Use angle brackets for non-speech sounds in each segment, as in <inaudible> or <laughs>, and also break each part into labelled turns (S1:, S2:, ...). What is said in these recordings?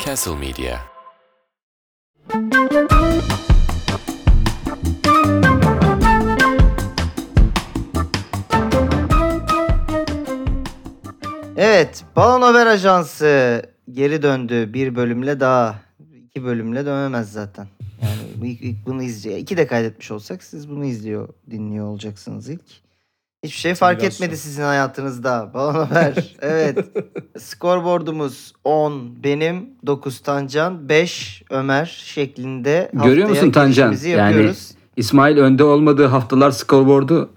S1: Castle Media.
S2: Evet, Balon Haber Ajansı geri döndü bir bölümle daha. iki bölümle dönemez zaten. Yani bu ilk, ilk bunu izliyor. İki de kaydetmiş olsak siz bunu izliyor, dinliyor olacaksınız ilk. Hiçbir şey fark
S3: Simülasyon.
S2: etmedi sizin hayatınızda. Balon Haber. evet. Skorboardumuz 10 benim, 9 Tancan, 5 Ömer şeklinde.
S4: Görüyor
S2: haftaya
S4: musun Tancan?
S2: girişimizi
S4: Yani-
S2: yapıyoruz.
S4: İsmail önde olmadığı haftalar skorboardu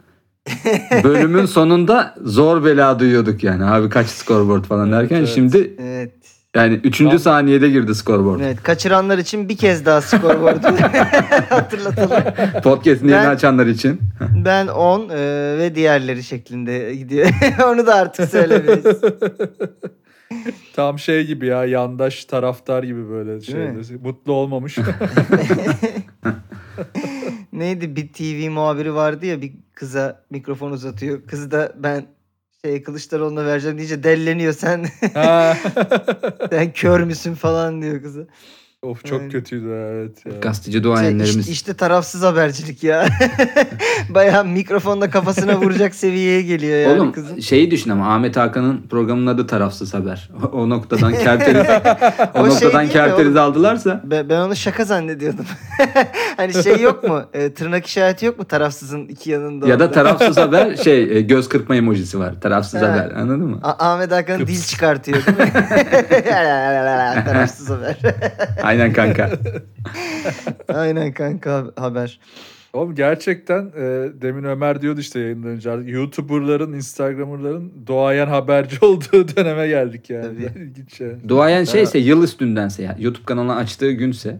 S2: <laughs>
S4: bölümün sonunda zor bela duyuyorduk yani. Abi kaç skorboard falan
S3: Evet,
S4: derken
S3: evet.
S4: şimdi
S2: Evet.
S4: yani 3.
S3: Ben-
S4: saniyede girdi skorboard.
S2: Evet, kaçıranlar için bir kez daha
S4: <laughs>
S2: skorboardu <laughs> hatırlatalım.
S4: Podcast'ini yeni
S2: Ben-
S4: açanlar için.
S2: Ben 10 e, ve diğerleri şeklinde gidiyor. <laughs> Onu da artık
S4: <laughs>
S2: söylemeyiz.
S3: Tam şey gibi ya yandaş taraftar gibi böyle
S2: mi?
S3: şey.
S2: <laughs>
S3: Mutlu olmamış.
S2: Neydi bir TV muhabiri vardı ya bir kıza mikrofon uzatıyor. Kız da ben şey Kılıçdaroğlu'na vereceğim deyince delleniyor sen <laughs>
S3: Ha.
S2: sen kör müsün falan diyor kıza.
S3: of çok
S2: Aynen.
S3: kötüydü evet ya.
S4: Gazeteci
S2: İşte,
S4: duayenlerimiz.
S2: işte, işte tarafsız habercilik ya. <laughs> Bayağı mikrofonla kafasına vuracak seviyeye geliyor yani
S4: Oğlum
S2: kızın.
S4: şeyi düşün ama Ahmet Hakan'ın programının adı Tarafsız Haber. O,
S2: <laughs>
S4: o noktadan kerteriz, o,
S2: O şey
S4: noktadan
S2: değil mi
S4: kerteriz
S2: oğlum?
S4: aldılarsa
S2: Ben, ben onu şaka zannediyordum. <laughs> hani şey yok mu? E, tırnak işareti yok mu tarafsızın iki yanında?
S4: ya da
S2: orada?
S4: Tarafsız Haber şey e, göz kırpma emojisi var. Tarafsız
S2: Evet.
S4: Haber anladın mı?
S2: A- Ahmet Hakan dil
S3: Kıps.
S2: çıkartıyor değil
S4: <laughs>
S2: mi? <laughs> Tarafsız haber. <laughs>
S4: Aynen kanka.
S2: Aynen kanka hab- haber.
S3: Oğlum gerçekten e, demin Ömer diyordu işte yayından önce artık YouTuber'ların, Instagram'ların doğayan haberci <laughs> olduğu döneme geldik yani.
S2: Tabii.
S3: <laughs> İlginç yani.
S4: Duayen şeyse yıl üstündense ya YouTube kanalını açtığı günse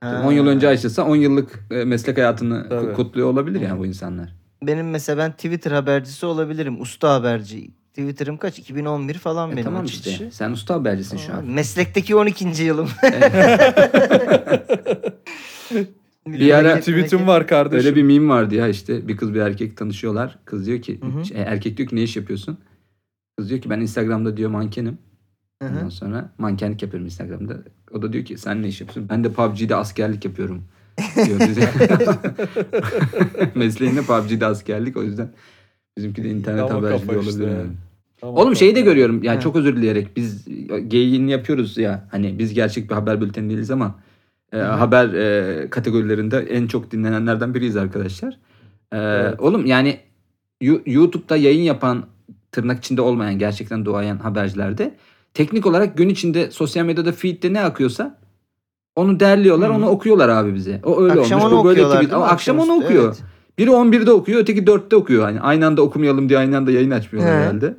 S2: Ha.
S4: 10 yıl önce açılsa 10 yıllık e, meslek hayatını ku-
S3: Tabii.
S4: kutluyor olabilir yani bu insanlar. E,
S2: Benim mesela ben Twitter habercisi olabilirim. Usta haberci. Twitter'ım kaç? 2011 falan
S4: E
S2: benim
S4: tamam işte.
S2: açılışı.
S4: Sen usta habercisin şu an.
S2: Meslekteki 12.
S4: <laughs>
S2: yılım. <laughs>
S4: Bir ara-
S3: Tweet'im var kardeşim.
S4: Öyle bir meme vardı ya işte bir kız bir erkek tanışıyorlar. Kız diyor ki
S2: Hı hı.
S4: şey, erkek diyor ki ne iş yapıyorsun? Kız diyor ki ben Instagram'da diyor mankenim.
S2: Hı hı.
S4: Ondan sonra mankenlik yapıyorum Instagram'da. O da diyor ki sen ne iş yapıyorsun? Ben de PUBG'de askerlik yapıyorum.
S2: <laughs>
S4: diyor bize. <laughs> Mesleğinde PUBG'de askerlik o yüzden bizimki de internet
S3: Ama
S4: haberciliği
S3: kafa
S4: olabilir.
S3: işte yani.
S4: Yani.
S3: Tamam,
S4: Oğlum şeyi de
S3: tamam.
S4: görüyorum. Yani
S2: He.
S4: çok özür dileyerek biz geyiğini yapıyoruz ya. Hani biz gerçek bir haber bülteni değiliz ama e, haber e, kategorilerinde en çok dinlenenlerden biriyiz arkadaşlar. E,
S3: Evet.
S4: Oğlum yani Yu- YouTube'da yayın yapan tırnak içinde olmayan gerçekten duayen habercilerde teknik olarak gün içinde sosyal medyada feed'de ne akıyorsa onu derliyorlar,
S3: Hı.
S4: onu okuyorlar abi bize. O öyle
S2: akşam
S4: olmuş,
S2: onu
S4: bu böyle
S2: okuyorlar.
S4: tweet.
S2: değil mi?
S4: Ama akşam onu
S2: üstü,
S4: okuyor.
S2: evet.
S4: Biri 11'de okuyor, öteki 4'te okuyor. Hani aynı anda okumayalım diye aynı anda yayın açmıyorlar
S2: He.
S4: herhalde.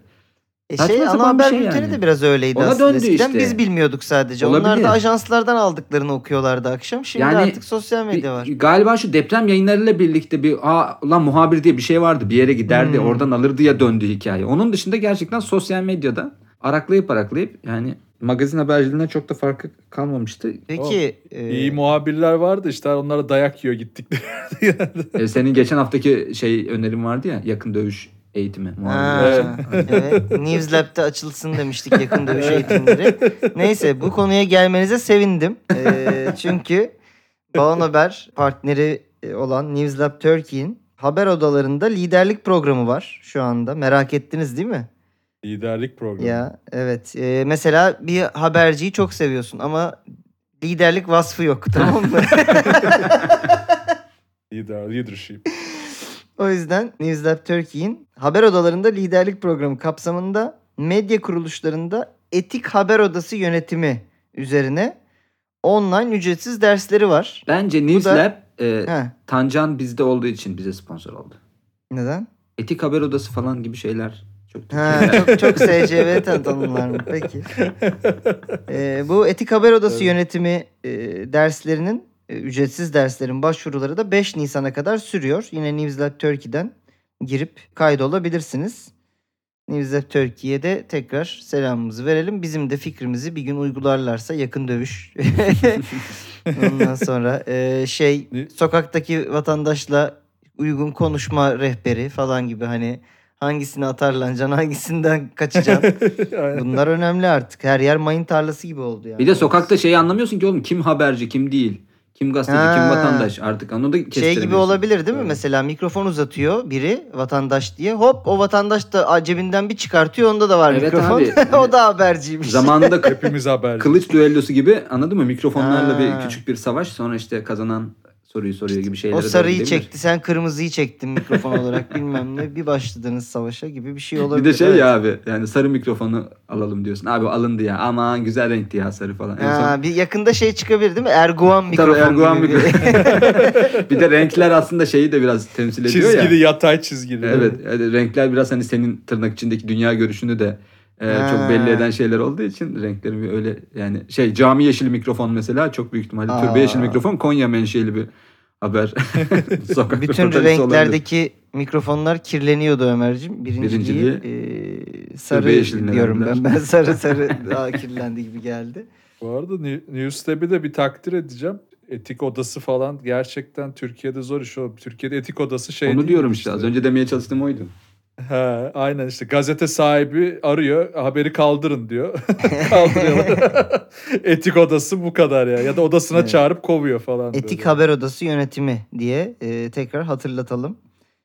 S2: E
S4: Saçma
S2: şey
S4: sapan
S2: ana
S4: bir
S2: haber
S4: şey
S2: bülteni
S4: yani.
S2: de biraz öyleydi
S4: Ona
S2: aslında.
S4: döndü
S2: Eskiden
S4: işte.
S2: biz bilmiyorduk sadece. Onlar
S4: Olabilir.
S2: da ajanslardan aldıklarını okuyorlardı akşam. Şimdi
S4: Yani
S2: artık sosyal medya var.
S4: Bir- Galiba şu deprem yayınlarıyla birlikte bir aa ulan muhabir diye bir şey vardı. Bir yere giderdi,
S2: Hmm.
S4: oradan alırdı ya döndü hikaye. Onun dışında gerçekten sosyal medyada araklayıp araklayıp yani magazin haberciliğinden çok da farkı kalmamıştı.
S2: Peki e,
S3: İyi muhabirler vardı işte onlara dayak yiyor gittik. <laughs>
S4: E, senin geçen haftaki şey önerin vardı ya yakın dövüş eğitimi.
S2: Ha,
S4: muhabirler
S2: <laughs>
S4: için.
S2: evet. News Lab'de açılsın demiştik yakın dövüş eğitimleri. Neyse bu konuya gelmenize sevindim. Ee, çünkü Balon Haber partneri e, olan News Lab Turkey'in haber odalarında liderlik programı var şu anda. Merak ettiniz değil mi?
S3: Liderlik programı.
S2: Ya evet. Ee, mesela bir haberciyi çok seviyorsun ama liderlik vasfı yok <laughs> tamam mı?
S3: Lider, leadership.
S4: <laughs>
S2: O yüzden News Lab Turkey'in haber odalarında liderlik programı kapsamında medya kuruluşlarında etik haber odası yönetimi üzerine online ücretsiz dersleri var.
S4: Bence News
S2: da-
S4: Lab e,
S2: Ha,
S4: Tancan bizde olduğu için bize sponsor oldu.
S2: neden?
S4: Etik haber odası falan gibi şeyler çok
S2: Ha, çok, çok SCV tan- tanımlar mı? Peki. Ee, bu etik haber odası
S3: Evet.
S2: yönetimi e, derslerinin e, ücretsiz derslerin başvuruları da 5 Nisan'a kadar sürüyor. Yine News Lab Turkey'den girip kaydolabilirsiniz. News Lab Turkey'ye de tekrar selamımızı verelim. Bizim de fikrimizi bir gün uygularlarsa yakın dövüş. <laughs> Ondan sonra e, şey
S3: Ne?
S2: sokaktaki vatandaşla uygun konuşma rehberi falan gibi hani Hangisini atarlanacaksın, hangisinden kaçacaksın.
S3: <laughs> Aynen.
S2: Bunlar önemli artık. Her yer mayın tarlası gibi oldu yani.
S4: Bir de sokakta şeyi anlamıyorsun ki oğlum kim haberci kim değil. Kim gazeteci
S2: Ha.
S4: kim vatandaş artık onu da
S2: şey gibi
S4: kestiremiyorsun.
S2: olabilir değil mi?
S3: Evet.
S2: Mesela mikrofon uzatıyor biri vatandaş diye. Hop o vatandaş da aa, cebinden bir çıkartıyor. Onda da var
S4: Evet
S2: mikrofon. <laughs>
S4: abi.
S2: o da haberciymiş. <laughs>
S4: Zamanında kı-
S3: Hepimiz haberci.
S4: kılıç düellosu gibi anladın mı? Mikrofonlarla
S2: Ha.
S4: bir küçük bir savaş sonra işte kazanan soruyu soruyor gibi şeylere
S2: O
S4: doğru
S2: sarıyı
S4: gidebilir.
S2: çekti, sen kırmızıyı çektin mikrofon olarak bilmem ne. Bir başladınız savaşa gibi bir şey olabilir.
S4: Bir de şey
S2: evet.
S4: ya abi yani sarı mikrofonu alalım diyorsun. Abi alındı ya aman güzel renkti ya sarı falan. En son-
S2: Ha, bir yakında şey çıkabilir değil mi? Erguvan mikrofon.
S4: Tabii Erdoğan
S2: gibi bir- <laughs>
S4: mikrofonu. bir de renkler aslında şeyi de biraz temsil ediyor ya.
S3: Çizgili yatay çizgili.
S4: E, Evet, evet, renkler biraz hani senin tırnak içindeki dünya görüşünü de e,
S2: Ha.
S4: çok belli eden şeyler olduğu için renklerin bir öyle yani şey cami yeşili mikrofon mesela çok büyük ihtimalle
S2: Aa.
S4: türbe yeşili mikrofon Konya menşeli bir haber.
S2: <laughs>
S4: <laughs> Sokak
S2: Bütün
S4: röportajı olabilir.
S2: renklerdeki mikrofonlar kirleniyordu Ömer'cim. Birinciliği eee, sarı
S4: yeşiline
S2: diyorum ben.
S4: verdiler.
S2: Ben sarı sarı daha kirlendi gibi geldi.
S3: Bu arada New- Newstep'i de bir takdir edeceğim. Etik odası falan gerçekten Türkiye'de zor iş oğlum. Türkiye'de etik odası şey
S4: Onu
S3: değil
S4: diyorum işte az önce demeye çalıştığım oydu.
S3: He, aynen işte gazete sahibi arıyor haberi kaldırın diyor. <laughs>
S4: <laughs>
S3: Kaldırıyorlar. etik odası bu kadar ya. Ya da odasına
S2: Evet.
S3: çağırıp kovuyor falan.
S2: Etik
S3: böyle.
S2: Haber Odası Yönetimi diye eee, tekrar hatırlatalım.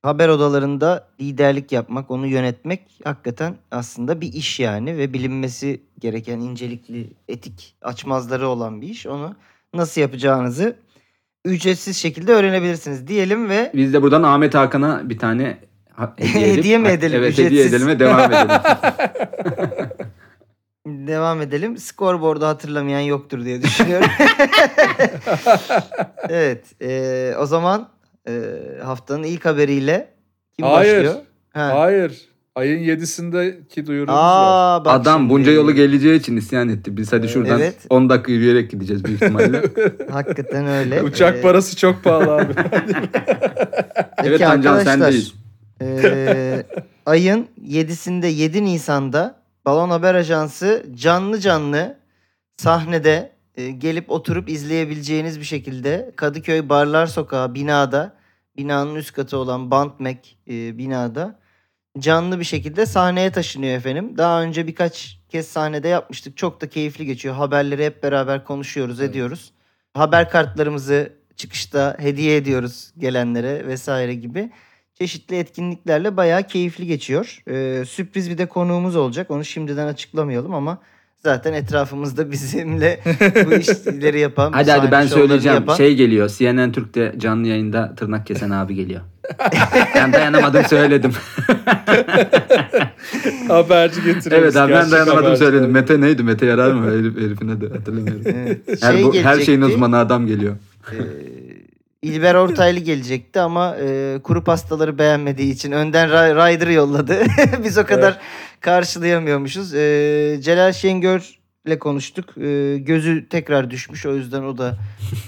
S2: Haber odalarında liderlik yapmak, onu yönetmek hakikaten aslında bir iş yani ve bilinmesi gereken incelikli etik açmazları olan bir iş. Onu nasıl yapacağınızı ücretsiz şekilde öğrenebilirsiniz diyelim ve
S4: Biz de buradan Ahmet Hakan'a bir tane
S2: <laughs>
S4: ha- hediye, edip-
S2: Hediye mi edelim,
S4: Evet hediye
S2: ücretsiz?
S4: edelim
S2: <laughs>
S4: ve devam edelim.
S2: Devam edelim. Skorboard'u hatırlamayan yoktur diye düşünüyorum. <laughs> evet. e, o zaman e, haftanın ilk haberiyle kim
S3: Hayır.
S2: başlıyor? Ha.
S3: Hayır. Ayın 7'sindeki duyurumuz var.
S2: Aa, bak
S4: Adam
S2: şimdi.
S4: bunca yolu geleceği için isyan etti. Biz hadi şuradan
S2: Evet.
S4: 10 dakika yürüyerek gideceğiz
S2: <laughs>
S4: büyük ihtimalle.
S2: Hakikaten
S4: <laughs>
S2: öyle.
S3: Uçak
S2: E,
S3: parası çok pahalı abi.
S2: peki
S4: evet Tancan
S2: arkadaşlar,
S4: sendeyiz.
S2: e, ayın 7'sinde 7 Nisan'da Balon Haber Ajansı canlı canlı sahnede e, gelip oturup izleyebileceğiniz bir şekilde Kadıköy Barlar Sokağı binada binanın üst katı olan Bantmek e, binada canlı bir şekilde sahneye taşınıyor efendim. Daha önce birkaç kez sahnede yapmıştık. Çok da keyifli geçiyor. Haberleri hep beraber konuşuyoruz,
S3: Evet.
S2: ediyoruz. Haber kartlarımızı çıkışta hediye ediyoruz gelenlere vesaire gibi. Çeşitli etkinliklerle bayağı keyifli geçiyor. Ee, sürpriz bir de konuğumuz olacak. Onu şimdiden açıklamayalım ama zaten etrafımızda <laughs> bizimle bu işleri yapan, bu
S4: Hadi hadi
S2: sahne
S4: ben
S2: şovlarını
S4: söyleyeceğim.
S2: yapan-
S4: Şey geliyor. CNN Türk'te canlı yayında tırnak kesen abi geliyor. <laughs> ben dayanamadım
S2: <laughs>
S4: söyledim.
S3: Haberci getiriyoruz.
S4: evet abi ben
S3: gerçek
S4: dayanamadım
S3: haberci.
S4: söyledim. Mete neydi? Mete yarar mı? Herif, herifin adı hatırlamıyorum.
S2: Evet.
S4: Her,
S2: Şey
S4: bu, her şeyin
S2: gelecekti.
S4: uzmanı adam geliyor.
S2: Ee, İlber Ortaylı gelecekti ama e, kuru pastaları beğenmediği için önden Ry- Ryder'ı yolladı. <laughs> Biz o kadar karşılayamıyormuşuz. Ee, Celal Şengör'le konuştuk. Ee, gözü tekrar düşmüş o yüzden o da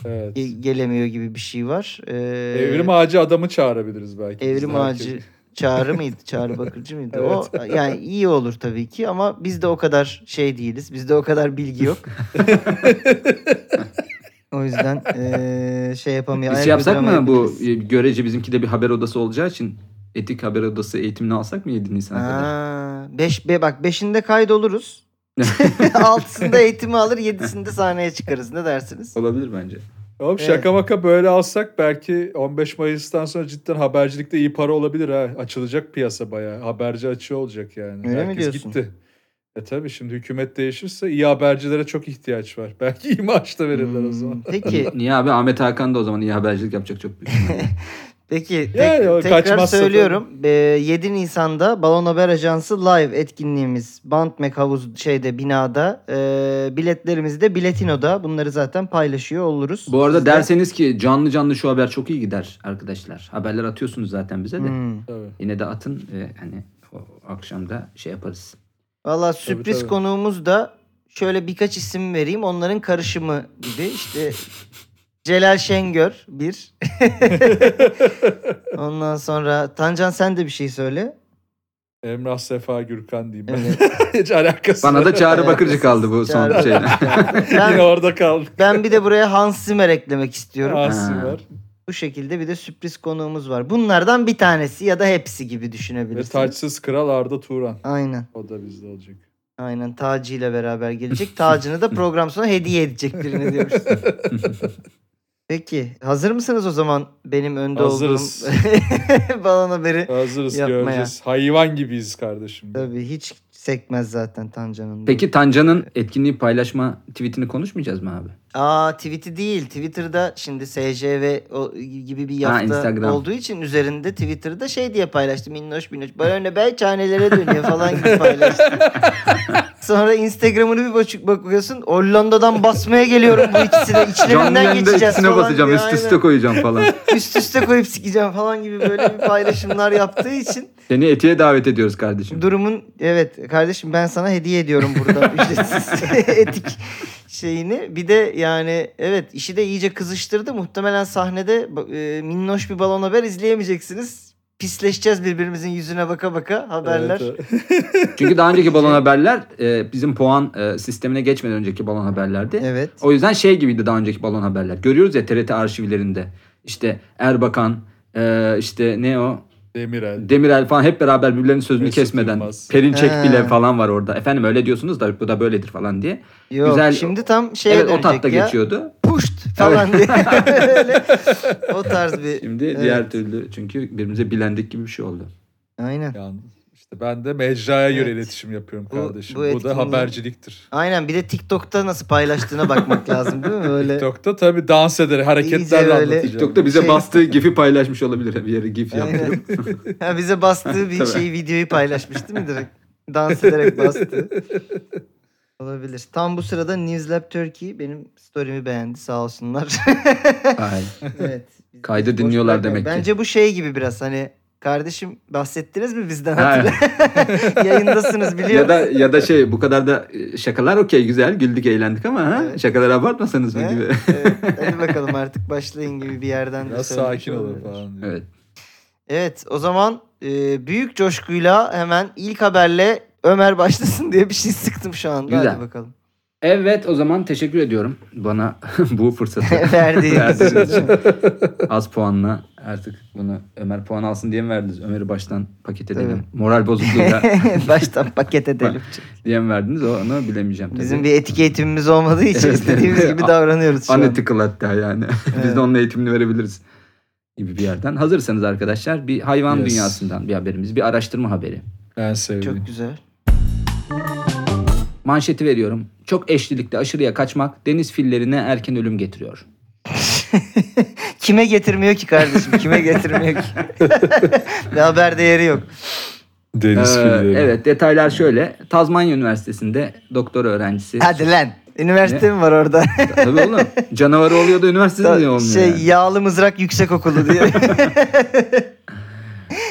S3: Evet.
S2: ge- gelemiyor gibi bir şey var. Ee,
S3: Evrim ağacı adamı çağırabiliriz belki.
S2: Evrim
S3: Biz de herkes-
S2: Ağacı Çağrı mıydı? Çağrı Bakırcı mıydı? O yani iyi olur tabii ki ama biz de o kadar şey değiliz. Bizde o kadar bilgi yok. o yüzden eee, şey yapamıyor.
S4: Biz
S2: ayak
S4: şey yapsak mı bu
S2: uyduramayabiliriz.
S4: e, görece bizimki de bir haber odası olacağı için etik haber odası eğitimini alsak mı 7 Nisan'a kadar?
S2: Ha, beş, be, bak beşinde
S4: <laughs>
S2: kaydoluruz. Altısında eğitimi alır, yedisinde sahneye çıkarız. Ne dersiniz?
S4: Olabilir bence.
S3: Oğlum
S2: Evet.
S3: şaka maka böyle alsak belki 15 Mayıs'tan sonra cidden habercilikte iyi para olabilir ha. Açılacak piyasa bayağı. Haberci açığı olacak yani.
S2: Öyle mi
S3: Herkes
S2: diyorsun?
S3: gitti. E tabii şimdi hükümet değişirse iyi habercilere çok ihtiyaç var. <laughs> Belki iyi maaş da verirler o zaman.
S2: Hmm, Peki,
S4: Niye abi Ahmet Hakan da o zaman iyi habercilik yapacak çok büyük.
S2: <laughs>
S4: ihtimalle.
S2: Peki tek-
S3: Yani o
S2: tekrar
S3: kaçmazsa
S2: söylüyorum. Ee, 7 Nisan'da Balon Haber Ajansı live etkinliğimiz Bantmek Havuz şeyde binada. Ee, biletlerimiz de Biletino'da. Bunları zaten paylaşıyor oluruz.
S4: bu arada
S2: Siz de-
S4: derseniz ki canlı canlı şu haber çok iyi gider arkadaşlar. Haberler atıyorsunuz zaten bize de.
S2: Hmm.
S3: Tabii.
S4: Yine de atın ve hani o akşamda şey yaparız.
S2: Valla sürpriz
S3: tabii.
S2: konuğumuz da şöyle birkaç isim vereyim. Onların karışımı gibi işte Celal Şengör
S3: <laughs>
S2: bir. Ondan sonra Tancan sen de bir şey
S3: <laughs>
S2: söyle.
S3: Emrah Sefa Gürkan diyeyim ben.
S2: Evet.
S3: <laughs> Hiç alakası
S4: Bana da Çağrı
S2: Evet.
S4: Bakırcı kaldı bu
S2: <laughs>
S4: son
S2: Çağrı-
S4: şeyden.
S2: Ben-
S3: Yine orada kaldık.
S2: Ben bir de buraya Hans Zimmer eklemek istiyorum.
S3: Asi
S4: Ha.
S3: var.
S2: Bu şekilde bir de sürpriz konuğumuz var. Bunlardan bir tanesi ya da hepsi gibi
S3: Ve
S2: düşünebilirsiniz.
S3: taçsız kral Arda Turan.
S2: Aynen.
S3: O da bizde olacak.
S2: Aynen Taci ile beraber gelecek. Tacını da program sonu hediye edecek birine diyormuş.
S3: <laughs>
S2: Peki hazır mısınız o zaman benim önde
S3: Hazırız.
S2: olduğum <laughs> balon haberi?
S3: Hazırız
S2: Yapma
S3: göreceğiz. Hayvan gibiyiz kardeşim.
S2: Tabii hiç sekmez zaten Tancan'ın.
S4: Peki Tancan'ın etkinliği paylaşma tweetini konuşmayacağız mı abi?
S2: Aa tweet'i değil. Twitter'da şimdi SJV o- gibi bir
S4: Ha,
S2: yafta
S4: Instagram.
S2: olduğu için üzerinde Twitter'da şey diye paylaştı. Minnoş minnoş. Böyle bel çanelere dönüyor falan gibi
S4: <laughs>
S2: paylaştı. Sonra Instagram'ını bir bakı- bakıyorsun. Hollanda'dan basmaya geliyorum bu ikisine.
S4: Canlı
S2: İçlerinden
S4: yayında
S2: geçeceğiz
S4: ikisine
S2: falan
S4: basacağım
S2: diye.
S4: üst üste
S2: Aynen.
S4: koyacağım
S2: <laughs>
S4: falan.
S2: Üst üste koyup sikeceğim falan gibi böyle bir paylaşımlar yaptığı için
S4: Seni etiye davet ediyoruz kardeşim.
S2: Durumun evet kardeşim ben sana hediye ediyorum burada
S4: <laughs>
S2: ücretsiz <laughs> etik şeyini. Bir de yani evet işi de iyice kızıştırdı. Muhtemelen sahnede e, minnoş bir balon haber izleyemeyeceksiniz. Pisleşeceğiz birbirimizin yüzüne baka baka haberler.
S3: Evet, evet.
S4: Çünkü daha
S2: <laughs>
S4: önceki balon haberler e, bizim puan e, sistemine geçmeden önceki balon haberlerdi.
S2: Evet.
S4: O yüzden şey gibiydi daha önceki balon haberler. Görüyoruz ya TRT arşivlerinde. İşte Erbakan, e, işte ne o
S3: Demirel.
S4: Demirel falan hep beraber birbirlerinin sözünü
S3: Mesut
S4: kesmeden.
S3: Yılmaz.
S4: Perinçek
S2: He.
S4: bile falan var orada. Efendim öyle diyorsunuz da bu da böyledir falan diye.
S2: Yok,
S4: Güzel.
S2: Şimdi tam şeye
S4: evet o
S2: dönecek
S4: tatta
S2: ya.
S4: geçiyordu.
S2: Puşt falan diye.
S4: <laughs>
S2: Öyle. o tarz bir.
S4: Şimdi
S2: Evet.
S4: diğer türlü çünkü birbirimize bilendik gibi bir şey oldu.
S2: Aynen.
S3: Yani işte ben de mecraya göre
S2: Evet.
S3: iletişim yapıyorum
S2: Bu-
S3: kardeşim.
S2: bu
S3: Bu,
S2: etkinliği-
S3: da haberciliktir.
S2: Aynen bir de TikTok'ta nasıl paylaştığına bakmak lazım değil mi? Böyle
S3: TikTok'ta tabii dans ederek
S2: İyice
S3: hareketlerle
S2: böyle-
S3: anlatacağım.
S4: TikTok'ta bize
S2: Şey-
S4: bastığı gif'i paylaşmış olabilir. Bir yere gif
S2: Aynen.
S4: yaptırıp.
S2: Ha, bize bastığı bir
S4: Tabii.
S2: şeyi videoyu paylaşmış değil mi direkt? Dans ederek bastı. Olabilir. Tam bu sırada Newslab Turkey benim story'mi beğendi sağ
S3: <laughs>
S2: olsunlar.
S4: Ay.
S2: evet.
S4: Kaydı
S2: Boş
S4: dinliyorlar
S2: bırakmayın.
S4: demek ki.
S2: Bence bu şey gibi biraz hani kardeşim bahsettiniz mi bizden <laughs>
S4: Ha.
S2: hatırla. Yayındasınız
S4: ya
S2: biliyor
S4: da ya da şey bu kadar da e, şakalar okey güzel güldük eğlendik ama ha
S2: Evet.
S4: şakaları abartmasanız mı
S2: musun?
S4: gibi. <laughs>
S2: Evet, hadi bakalım artık başlayın gibi bir yerden de
S3: Biraz
S2: söylemiş
S3: sakin olun
S2: olabilir.
S3: falan. diyor.
S4: Evet.
S2: Evet o zaman e, büyük coşkuyla hemen ilk haberle Ömer başlasın diye bir şey sıktım şu anda.
S4: Güzel.
S2: Hadi bakalım. <laughs>
S4: Evet o zaman teşekkür ediyorum bana <laughs> bu fırsatı
S2: Verdiğiniz için.
S4: verdiğiniz için. Az puanla artık bunu Ömer puan alsın diye mi verdiniz? Ömer'i baştan paket edelim. Moral bozukluğuyla
S2: <laughs> Baştan paket edelim.
S4: diye mi verdiniz? Onu bilemeyeceğim tabii.
S2: Bizim bir etik eğitimimiz olmadığı için
S4: Evet.
S2: istediğimiz gibi
S4: A-
S2: davranıyoruz şu an.
S4: Unethical hatta yani. <laughs> Biz
S2: Evet.
S4: de onun eğitimini verebiliriz gibi bir yerden. Hazırsanız arkadaşlar bir hayvan
S3: Yes.
S4: dünyasından bir haberimiz. Bir araştırma haberi.
S3: Ben sevdim.
S2: Çok güzel.
S4: Manşeti veriyorum. Çok eşlilikte aşırıya kaçmak deniz fillerine erken ölüm getiriyor.
S2: Kime getirmiyor ki kardeşim? Kime getirmiyor
S4: <laughs>
S2: ki? Bir haber değeri yok.
S3: Deniz
S4: Ee,
S3: filleri. <laughs>
S4: evet detaylar şöyle. Tazmanya Üniversitesi'nde doktor öğrencisi.
S2: Hadi lan. Üniversite mi var
S4: <laughs>
S2: orada?
S4: Tabii oğlum. Canavarı oluyor da üniversitede niye olmuyor?
S2: şey
S4: yani?
S2: yağlı mızrak yüksekokulu
S4: <laughs>
S2: diye.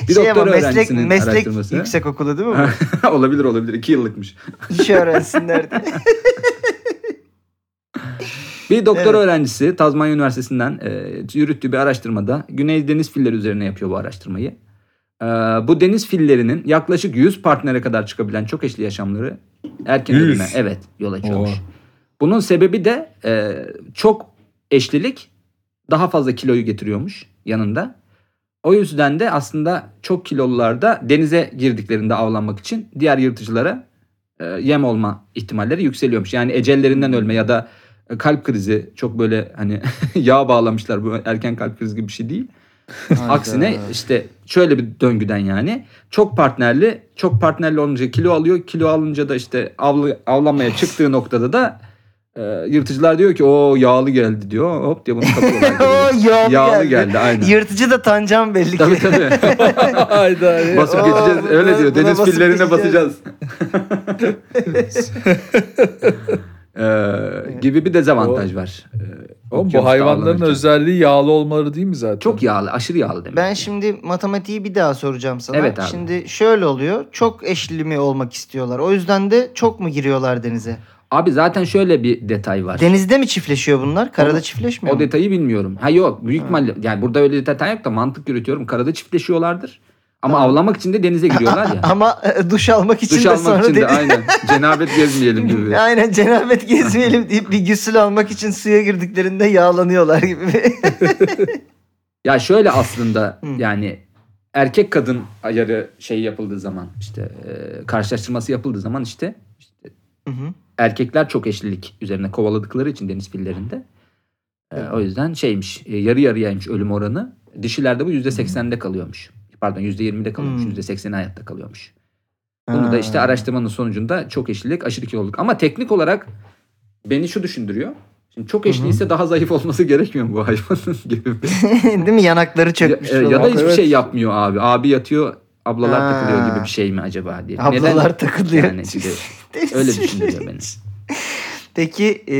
S4: Bir
S2: şey
S4: doktor
S2: ama meslek,
S4: öğrencisinin
S2: meslek
S4: araştırması.
S2: yüksekokulu değil mi?
S4: <laughs> olabilir olabilir. İki yıllıkmış.
S2: bu? İş öğrensinler diye.
S4: Bir doktor
S2: Evet.
S4: öğrencisi Tazmanya Üniversitesi'nden e, yürüttüğü bir araştırmada Güney Deniz Filleri üzerine yapıyor bu araştırmayı. E, bu deniz fillerinin yaklaşık 100 partnere kadar çıkabilen çok eşli yaşamları erken
S3: 100.
S4: ölüme evet yol açıyormuş.
S3: Oha.
S4: Bunun sebebi de e, çok eşlilik daha fazla kiloyu getiriyormuş yanında. O yüzden de aslında çok kilolular da denize girdiklerinde avlanmak için diğer yırtıcılara e, yem olma ihtimalleri yükseliyormuş. Yani ecellerinden ölme ya da e, kalp krizi çok böyle hani <laughs> yağ bağlamışlar bu erken kalp krizi gibi bir şey değil. Aksine işte şöyle bir döngüden yani çok partnerli çok partnerli olunca kilo alıyor kilo alınca da işte avlı, avlanmaya çıktığı noktada da e, yırtıcılar diyor ki o yağlı geldi diyor hop diye bunu
S2: <laughs>
S4: kapıyorlar.
S2: o yağlı,
S4: yağlı
S2: geldi.
S4: geldi aynen.
S2: Yırtıcı da Tancan belli ki.
S4: tabii tabii.
S3: Hayda. ya.
S4: basıp
S2: Aa,
S4: geçeceğiz. Öyle
S2: buna-
S4: diyor.
S2: buna
S4: Deniz
S2: basıp
S4: fillerine
S2: geçeceğiz.
S4: basacağız. <laughs> Ee, gibi bir dezavantaj var. Ee,
S3: Oğlum,
S4: okyanusta
S3: bu hayvanların
S4: avlanırken.
S3: özelliği yağlı olmaları değil mi zaten?
S4: çok yağlı, aşırı yağlı demek.
S2: Ben şimdi matematiği bir daha soracağım sana.
S4: Evet abi.
S2: Şimdi şöyle oluyor. Çok eşli mi olmak istiyorlar? O yüzden de çok mu giriyorlar denize?
S4: Abi zaten şöyle bir detay var.
S2: Denizde mi çiftleşiyor bunlar? Karada çiftleşmiyor
S4: O
S2: mu?
S4: detayı bilmiyorum. Ha yok büyük mal yani burada öyle detay yok da mantık yürütüyorum. Karada çiftleşiyorlardır. Ama avlamak için de
S2: <laughs>
S4: denize giriyorlar ya.
S2: Ama e, duş almak için
S4: Duş
S2: de
S4: almak
S2: sonra
S4: için de
S2: deniz-
S4: aynen. Cenabet gezmeyelim
S2: <laughs>
S4: gibi.
S2: Aynen cenabet gezmeyelim deyip bir gusül almak için suya girdiklerinde yağlanıyorlar gibi.
S4: Ya şöyle aslında
S2: <laughs> Hı.
S4: yani erkek kadın ayarı şey yapıldığı zaman işte e, karşılaştırması yapıldığı zaman işte
S2: Hı hı.
S4: erkekler çok eşlilik üzerine kovaladıkları için deniz fillerinde. e, o yüzden şeymiş e, yarı yarıyaymış ölüm oranı. Dişilerde bu %80'de kalıyormuş. Pardon %20'de kalıyormuş.
S2: Hmm.
S4: %80'i hayatta kalıyormuş. Bunu
S2: Ha.
S4: da işte araştırmanın sonucunda çok eşlilik aşırı kiloluk. Ama teknik olarak beni şu düşündürüyor. Şimdi çok
S2: Hı hı.
S4: eşliyse daha zayıf olması gerekmiyor mu bu hayvanın <laughs> gibi bir
S2: <laughs> Değil mi? Yanakları çökmüş.
S4: ya, e,
S2: falan.
S4: ya da
S3: Bak,
S4: hiçbir
S3: evet.
S4: şey yapmıyor abi. Abi yatıyor, ablalar
S2: Ha.
S4: takılıyor gibi bir şey mi acaba diye.
S2: Ablalar takılıyor.
S4: Yani şimdi öyle
S2: şey.
S4: düşünüyor beni.
S2: Peki e,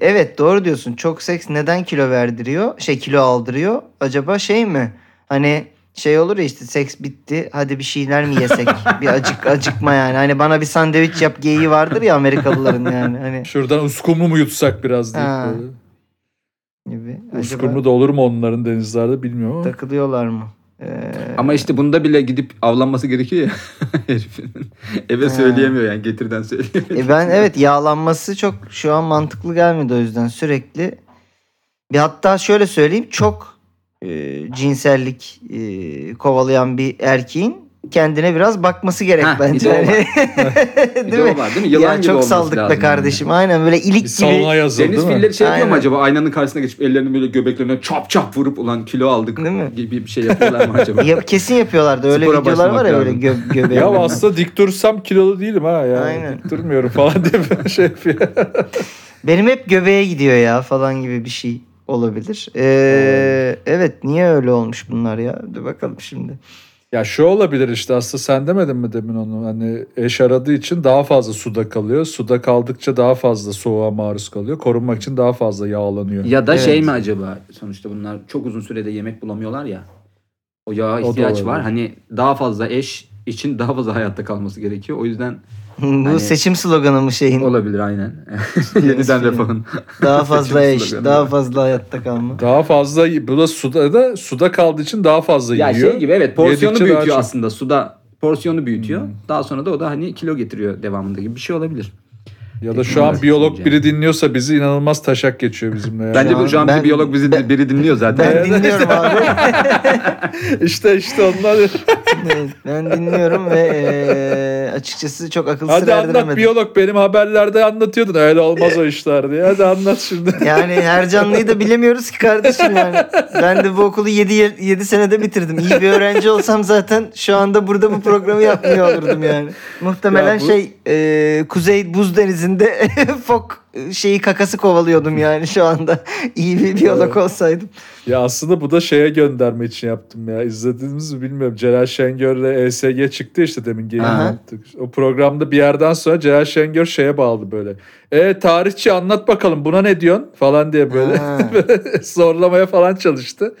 S2: evet doğru diyorsun. Çok seks neden kilo verdiriyor? Şey kilo aldırıyor. Acaba şey mi? Hani şey olur ya işte seks bitti. Hadi bir şeyler mi yesek? bir acık acıkma yani. Hani bana bir sandviç yap geyiği vardır ya Amerikalıların yani. Hani
S3: Şuradan uskumru mu yutsak biraz deyip
S2: Ha,
S3: böyle.
S2: gibi.
S3: Uskumru
S2: Acaba
S3: da olur mu onların denizlerde bilmiyorum ama.
S2: takılıyorlar mı? Ee,
S4: Ama işte bunda bile gidip avlanması gerekiyor ya <laughs> herifin. Eve
S2: Ha.
S4: söyleyemiyor yani getirden söyleyemiyor.
S2: E ben evet yağlanması çok şu an mantıklı gelmedi o yüzden sürekli. Bir hatta şöyle söyleyeyim çok e, cinsellik e, kovalayan bir erkeğin kendine biraz bakması gerek
S4: Ha, bir
S2: bence.
S4: de o var.
S2: Yani- <laughs>
S4: Bir de
S2: değil
S4: o
S2: mi?
S4: var değil mi? Yılan
S2: yani
S4: gibi
S2: çok
S4: olması
S2: saldık be
S4: lazım
S2: kardeşim. Aynen böyle
S3: Bir
S2: ilik
S3: salona
S2: gibi.
S3: yazıldı
S4: Yani. Deniz
S3: değil mi?
S4: filleri şey yapıyor mu
S2: Aynen.
S4: acaba? Aynanın karşısına geçip ellerini böyle göbeklerine çap çap vurup ulan kilo aldık
S2: Değil mi?
S4: gibi bir şey yapıyorlar mı
S2: <laughs>
S4: acaba?
S2: Ya, kesin yapıyorlardı öyle
S4: Spora
S2: videolar var ya
S4: başlamak
S2: böyle
S4: lazım.
S2: gö göbeğe.
S4: <laughs>
S3: Ya
S2: vuran.
S3: aslında dik dursam kilolu değilim ha ya.
S2: Aynen.
S3: Dik durmuyorum falan diye böyle şey yapıyor.
S2: Benim hep göbeğe gidiyor ya falan gibi bir şey olabilir. Ee, evet niye öyle olmuş bunlar ya? Dur bakalım şimdi.
S3: Ya şu olabilir işte aslında sen demedin mi demin onu? Hani eş aradığı için daha fazla suda kalıyor. Suda kaldıkça daha fazla soğuğa maruz kalıyor. Korunmak için daha fazla yağlanıyor.
S4: Ya da
S2: Evet.
S4: şey mi acaba? Sonuçta bunlar çok uzun sürede yemek bulamıyorlar ya. O yağa
S3: O da
S4: ihtiyaç var.
S3: olabilir.
S4: Hani daha fazla eş için daha fazla hayatta kalması gerekiyor. O yüzden
S2: <laughs> Bu
S4: Hani-
S2: seçim sloganı mı şeyin?
S4: olabilir aynen. <laughs> Yeniden
S2: Seçim
S4: refahın.
S3: <laughs>
S2: Daha fazla
S4: Seçim
S2: eş,
S4: sloganı.
S2: daha fazla hayatta kalma.
S3: Daha fazla bu da suda da suda kaldığı için daha fazla
S4: Ya
S3: yiyor.
S4: şey gibi evet porsiyonu
S3: Yedikçe daha
S4: büyütüyor
S3: çok.
S4: aslında. Suda porsiyonu büyütüyor. Daha sonra da o da hani kilo getiriyor devamında gibi bir şey olabilir.
S3: Ya da şu an
S4: Evet,
S3: biyolog
S4: yani.
S3: biri dinliyorsa bizi inanılmaz taşak geçiyor bizimle. Yani.
S4: Bence
S2: an
S4: bu şu an bir
S2: ben-
S4: biyolog bizi
S2: ben-
S4: biri dinliyor zaten.
S2: Ben
S3: <laughs>
S2: dinliyorum abi.
S3: işte işte onlar.
S2: Evet, ben dinliyorum ve eee, açıkçası çok akıl sır
S3: Hadi anlat
S2: erdiremedim.
S3: biyolog benim haberlerde anlatıyordun öyle olmaz o işler diye. Hadi anlat şimdi.
S2: Yani her canlıyı da bilemiyoruz ki kardeşim
S3: <laughs>
S2: yani. Ben de bu okulu 7 7 senede bitirdim. İyi bir öğrenci olsam zaten şu anda burada bu programı yapmıyor olurdum yani. Muhtemelen
S3: Ya bu-
S2: şey eee, Kuzey Buz Denizi'nde <laughs> fok şeyi kakası kovalıyordum yani şu anda. İyi bir biyolog
S3: Evet.
S2: olsaydım.
S3: Ya aslında bu da şeye gönderme için yaptım ya. İzlediniz mi bilmiyorum. Celal Şengör'le ESG çıktı işte demin geyik
S2: Aha.
S3: yaptık. O programda bir yerden sonra Celal Şengör şeye bağladı böyle. E tarihçi anlat bakalım buna ne diyorsun falan diye böyle,
S2: Ha.
S3: böyle <laughs> zorlamaya falan çalıştı.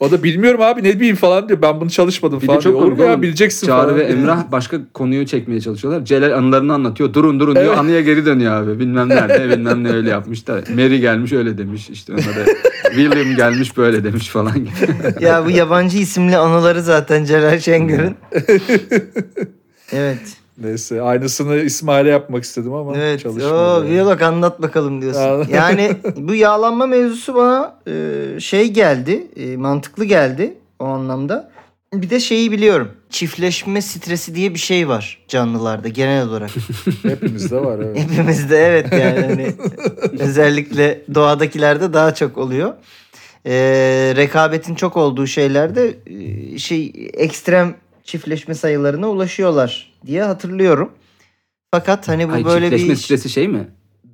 S3: O da bilmiyorum abi ne bileyim falan diyor. Ben bunu çalışmadım
S4: Bir
S3: falan
S4: de çok
S3: diyor. Olur
S4: komik
S3: mu ya
S4: oğlum.
S3: bileceksin
S4: Çağrı
S3: falan.
S4: ve
S3: diyor.
S4: Emrah başka konuyu çekmeye çalışıyorlar. Celal anılarını anlatıyor. Durun durun diyor.
S3: Evet.
S4: Anıya geri dönüyor abi. Bilmem nerede bilmem ne öyle yapmış da. Mary gelmiş öyle demiş. İşte onlara William gelmiş böyle demiş falan gibi.
S2: Ya bu yabancı isimli anıları zaten Celal
S3: <laughs>
S2: Şengör'ün. evet.
S3: Neyse aynısını İsmail'e yapmak istedim ama
S2: Evet.
S3: çalışmadı.
S2: Oo,
S3: yani.
S2: biyolog anlat bakalım diyorsun.
S3: Anladım.
S2: yani bu yağlanma mevzusu bana e, şey geldi. e, mantıklı geldi o anlamda. Bir de şeyi biliyorum. Çiftleşme stresi diye bir şey var canlılarda genel olarak.
S3: Hepimizde var evet.
S2: <laughs>
S4: <laughs>
S2: Hepimizde evet yani hani özellikle doğadakilerde daha çok oluyor. Ee, rekabetin çok olduğu şeylerde e, şey ekstrem çiftleşme sayılarına ulaşıyorlar diye hatırlıyorum. Fakat hani <laughs> bu
S4: Ay,
S2: böyle
S4: çiftleşme
S2: bir
S4: stresi şey mi?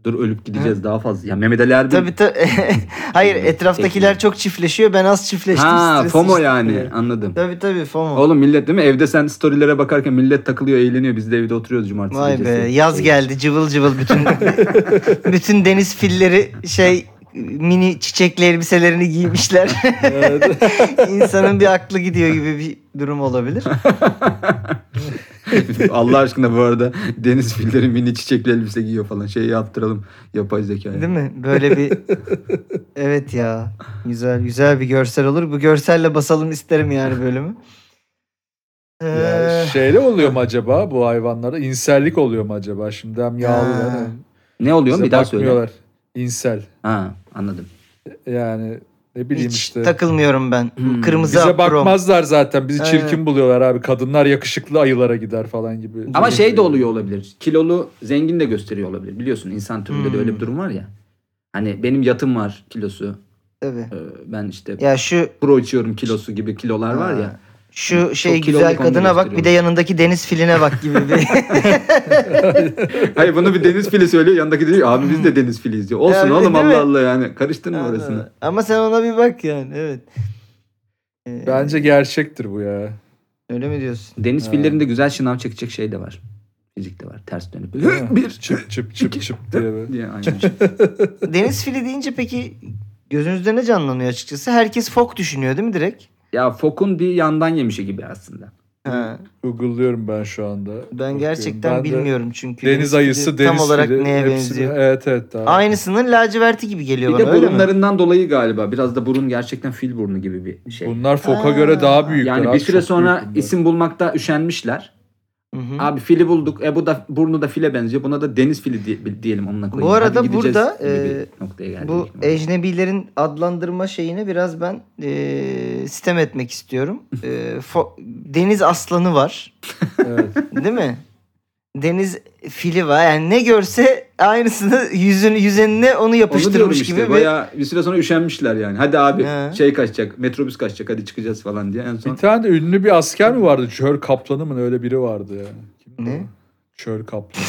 S4: Dur ölüp gideceğiz daha fazla. Ya Mehmet Ali Erbil.
S2: Tabii tabii. <laughs> Hayır etraftakiler çok çiftleşiyor. Ben az çiftleştim.
S4: Ha
S2: stresi
S4: FOMO
S2: işte.
S4: yani anladım.
S2: Tabii tabii FOMO.
S4: Oğlum millet değil mi? Evde sen storylere bakarken millet takılıyor eğleniyor. Biz de evde oturuyoruz cumartesi
S2: Vay be
S4: gecesi.
S2: yaz
S4: Şey,
S2: geldi cıvıl cıvıl
S3: <laughs>
S2: bütün bütün deniz filleri şey mini çiçekli elbiselerini giymişler. <laughs> İnsanın bir aklı gidiyor gibi bir durum olabilir.
S4: <laughs> Allah aşkına bu arada deniz filleri mini çiçekli elbise giyiyor falan. Şey yaptıralım yapay zeka.
S2: Değil mi? Böyle bir Evet ya. Güzel güzel bir görsel olur. Bu görselle basalım isterim yani bölümü.
S3: Ya
S2: Ee,
S3: şeyle oluyor mu acaba bu hayvanlara? İnsellik oluyor mu acaba? Şimdi hem yağlılar
S2: Ha.
S3: hem
S4: Ne oluyor
S3: bize
S4: bir daha söyle.
S3: bakmıyorlar. İnsel.
S4: Ha anladım.
S3: Yani Ne bileyim
S2: Hiç
S3: işte.
S2: takılmıyorum ben.
S4: Hmm.
S2: Kırmızı
S3: Bize
S2: apron.
S3: bakmazlar zaten. Bizi
S2: Evet.
S3: çirkin buluyorlar abi. Kadınlar yakışıklı ayılara gider falan gibi.
S4: Ama şey de oluyor olabilir. Kilolu zengin de gösteriyor olabilir. Biliyorsun insan türünde de
S2: Hmm.
S4: öyle bir durum var ya. Hani benim yatım var kilosu.
S2: Tabii.
S4: e, Ben işte
S2: Ya şu
S4: pro içiyorum kilosu gibi kilolar var
S2: Ha.
S4: ya.
S2: şu şey
S4: kiloluk
S2: güzel
S4: onu
S2: kadına bak bir de
S4: gösteriyor.
S2: yanındaki deniz filine bak gibi
S3: <laughs>
S2: bir.
S4: Hayır bunu bir deniz fili söylüyor. Yanındaki diyor ki, abi biz de deniz filiyiz diyor. Olsun
S2: Hmm. Yani,
S4: oğlum
S2: değil mi?
S4: Allah Allah yani. Karıştın mı orasını?
S2: Ama sen ona bir bak yani evet. Ee,
S3: Bence gerçektir bu ya.
S2: öyle mi diyorsun?
S4: Deniz
S3: Ha.
S4: fillerinde güzel şınav çekecek şey de var. Fizikte var. Ters dönüp.
S3: Değil mi?
S4: bir
S3: çıp çıp çıp
S4: iki-
S3: çıp diye. böyle.
S4: diye şey. aynen.
S2: <laughs> Deniz fili deyince peki gözünüzde ne canlanıyor açıkçası? Herkes fok düşünüyor değil mi direkt?
S4: ya fokun bir yandan yemişi gibi aslında.
S2: Ha,
S3: Google'lıyorum ben şu anda.
S2: ben gerçekten
S3: Ben de
S2: bilmiyorum çünkü.
S3: Deniz ayısı,
S2: fili
S3: deniz
S2: Tam olarak
S3: fili,
S2: neye
S3: hepsi-
S2: benziyor?
S3: Evet evet. Abi.
S2: Aynısının laciverti gibi geliyor
S4: Bir de
S2: bana öyle mi?
S4: burunlarından dolayı galiba. Biraz da burun gerçekten fil burnu gibi bir şey.
S3: Bunlar foka
S2: Aa.
S3: göre daha büyük.
S4: yani bir süre sonra isim bulmakta üşenmişler.
S2: Hı hı.
S4: Abi fili bulduk. E bu da burnu da file benziyor. Buna da deniz fili diye- diyelim onunla koyayım.
S2: arada
S4: Hadi gideceğiz
S2: burada,
S4: gibi bir
S2: e,
S4: noktaya geldik.
S2: Bu ecnebilerin adlandırma şeyini biraz ben eee sistem etmek istiyorum. Eee, fo- deniz aslanı var.
S3: Evet.
S2: Değil mi? Deniz fili var. Yani ne görse aynısını yüzün yüzenine onu
S4: Onu diyorum
S2: yapıştırmış
S4: işte.
S2: gibi. ve-
S4: Bayağı bir süre sonra üşenmişler yani. Hadi abi
S2: He.
S4: şey kaçacak. Metrobüs kaçacak. Hadi çıkacağız falan diye. En son
S2: <laughs>
S3: bir tane de ünlü bir asker mi vardı? Çör Kaplan'ı mı? ne? Öyle biri vardı ya. Kimdi
S2: Ne?
S3: o? Çör Kaplan.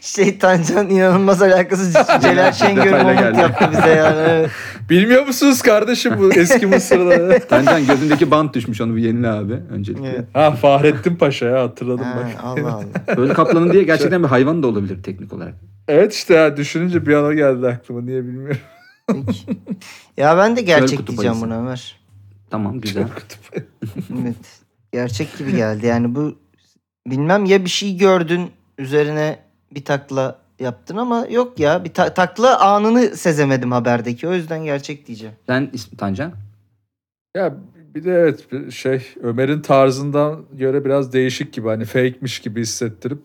S2: Şey Tancan inanılmaz
S4: <laughs>
S2: alakasız Celal Şengör
S4: Detayla
S2: moment
S4: geldi.
S2: yaptı bize yani.
S4: <laughs>
S2: Evet.
S3: Bilmiyor musunuz kardeşim bu
S2: <laughs>
S3: eski Mısır'da?
S4: Tancan gözündeki bant düşmüş onu bir yenile abi öncelikle.
S2: Evet.
S3: ha Fahrettin Paşa ya hatırladım
S2: Ha,
S3: bak.
S2: Allah Allah.
S4: Böyle
S2: <laughs>
S4: kaplanın diye gerçekten bir hayvan da olabilir teknik olarak.
S3: Evet işte ya, düşününce bir an o geldi aklıma niye bilmiyorum.
S2: Peki. Ya ben de
S4: Çöl
S2: gerçek
S4: kutup
S2: diyeceğim
S4: ayısı.
S2: buna Ömer.
S4: Tamam güzel.
S2: Evet. Gerçek gibi geldi. Yani bu bilmem ya bir şey gördün üzerine bir takla yaptın ama yok ya bir ta- takla anını sezemedim haberdeki. O yüzden gerçek diyeceğim.
S4: Sen ismi Tancan.
S3: ya bir de evet bir şey Ömer'in tarzından göre biraz değişik gibi hani fake'miş gibi hissettirip